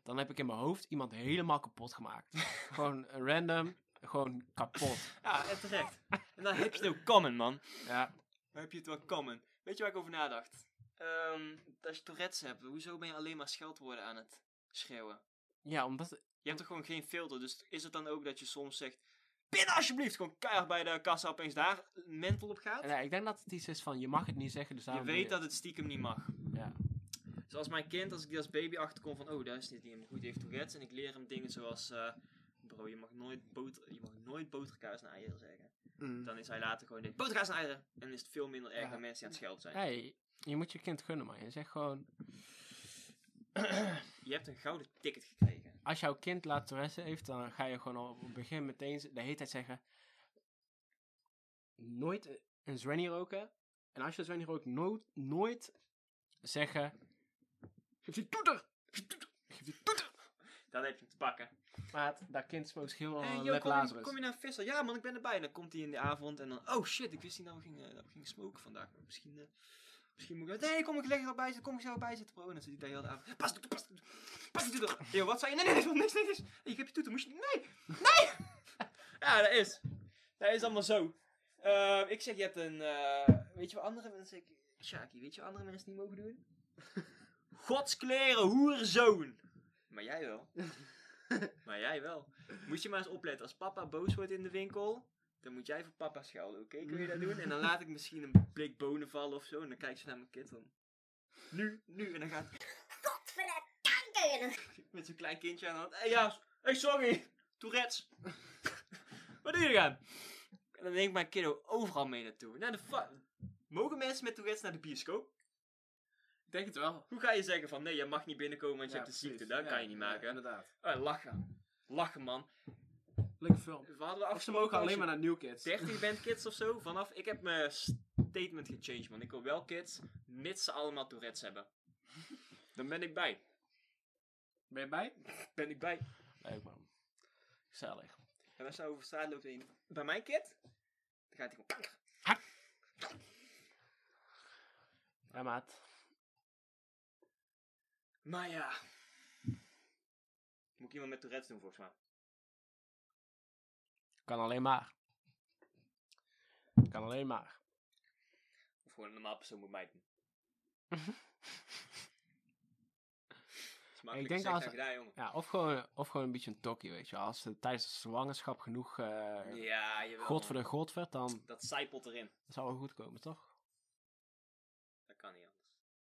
[SPEAKER 2] dan heb ik in mijn hoofd iemand helemaal kapot gemaakt. gewoon random, gewoon kapot.
[SPEAKER 1] Ja, en terecht. En dan heb je het ook common, man.
[SPEAKER 2] Ja.
[SPEAKER 1] Dan heb je het wel common. Weet je waar ik over nadacht? Ehm, als je Tourette's hebt, hoezo ben je alleen maar scheldwoorden aan het schreeuwen?
[SPEAKER 2] ja, omdat...
[SPEAKER 1] Je hebt toch gewoon geen filter, dus is het dan ook dat je soms zegt... Pinda alsjeblieft! Gewoon keihard bij de kassa opeens daar mental op gaat.
[SPEAKER 2] Nee, ik denk dat het iets is van, je mag het niet zeggen, dus
[SPEAKER 1] je
[SPEAKER 2] daarom doe
[SPEAKER 1] weet dat het stiekem niet mag.
[SPEAKER 2] Ja.
[SPEAKER 1] Zoals mijn kind, als ik die als baby achterkom van... Oh, daar is dit niet helemaal goed, die heeft Tourette's. En ik leer hem dingen zoals... eh, bro, je mag nooit, boter, je mag nooit boterkaas en eieren zeggen. Dan is hij later gewoon... dit, Boterkaas en eieren! En is het veel minder erg
[SPEAKER 2] Hm. Ja.
[SPEAKER 1] dan mensen die aan het schelden zijn.
[SPEAKER 2] Hey, je moet je kind gunnen, man. Je zegt gewoon,
[SPEAKER 1] Je hebt een gouden ticket gekregen.
[SPEAKER 2] als jouw kind laat Tourette's heeft, dan ga je gewoon op het begin meteen de hele tijd zeggen, nooit een- een Zwenny roken. En als je een Zwenny rookt, nooit, nooit zeggen, geef die toeter, geef die toeter, geef die toeter.
[SPEAKER 1] Dan heb je hem te pakken.
[SPEAKER 2] Maat, dat kind smookt heel
[SPEAKER 1] Hey,
[SPEAKER 2] een
[SPEAKER 1] yo,
[SPEAKER 2] lep
[SPEAKER 1] kom, je,
[SPEAKER 2] eh, Lazarus.
[SPEAKER 1] kom je naar Vissel? Ja man, ik ben erbij. En dan komt hij in de avond en dan... Oh shit, ik wist niet dat we gingen, dat we gingen smoken vandaag. Maar misschien, eh, misschien moet ik... Nee, kom ik lekker bij zitten. Kom ik zo bij zitten, bro. En dan zit hij daar heel de avond. Pas die toeter, pas die toeter. Pas die toeter. Yo, wat zei je? Nee, nee, nee, niks, niks, niks. Ik heb je toeter, moest je... Nee, nee. ja, dat is. Dat is allemaal zo. Eh, ik zeg, je hebt een... eh, weet je wat andere mensen... Shaki, weet je wat andere mensen niet mogen doen? Godskleren, hoerzoon. Maar jij wel. maar jij wel. Moet je maar eens opletten. Als papa boos wordt in de winkel, dan moet jij voor papa schelden, oké? Kun je dat doen? En dan laat ik misschien een blik bonen vallen of zo. En dan kijkt ze naar mijn kind dan. Nu, nu. En dan gaat
[SPEAKER 3] Keuren.
[SPEAKER 1] met zo'n klein kindje aan de hand. Hé, ja, hey, sorry. Tourette's. Wat doe je dan? En dan neemt mijn kiddo overal mee naartoe. Naar de fa- Mogen mensen met Tourette's naar de bioscoop?
[SPEAKER 2] Ik denk het wel.
[SPEAKER 1] Hoe ga je zeggen van nee, je mag niet binnenkomen want je hebt een ziekte? Dat kan je niet maken.
[SPEAKER 2] inderdaad.
[SPEAKER 1] Oh, lachen. Lachen, man.
[SPEAKER 2] Lekker film.
[SPEAKER 1] We hadden
[SPEAKER 2] Of ze mogen alleen maar naar New Kids.
[SPEAKER 1] 13 bent kids of zo. Vanaf ik heb mijn statement gechanged, man. Ik wil wel kids, mits ze allemaal Tourette's hebben. Dan ben ik bij.
[SPEAKER 2] Ben je bij?
[SPEAKER 1] Ben ik bij.
[SPEAKER 2] Leuk man. Gezellig.
[SPEAKER 1] En als je nou over straat loopt en je- bij mijn kid, dan gaat hij gewoon kanker.
[SPEAKER 2] Ja maat.
[SPEAKER 1] Maar ja. Moet ik iemand met Tourette's doen, volgens mij.
[SPEAKER 2] Kan alleen maar. Kan alleen maar.
[SPEAKER 1] Of gewoon een normaal persoon moet mij doen. Dat is makkelijk
[SPEAKER 2] denk
[SPEAKER 1] gezegd
[SPEAKER 2] als-
[SPEAKER 1] dan gedaan, jongen.
[SPEAKER 2] Ja, of gewoon, of gewoon een beetje een tokkie, weet je. wel. Als ze tijdens de zwangerschap genoeg eh
[SPEAKER 1] Ja, jawel.
[SPEAKER 2] god voor
[SPEAKER 1] man.
[SPEAKER 2] de god werd, dan
[SPEAKER 1] Dat zijpelt erin.
[SPEAKER 2] zou het goed komen, toch?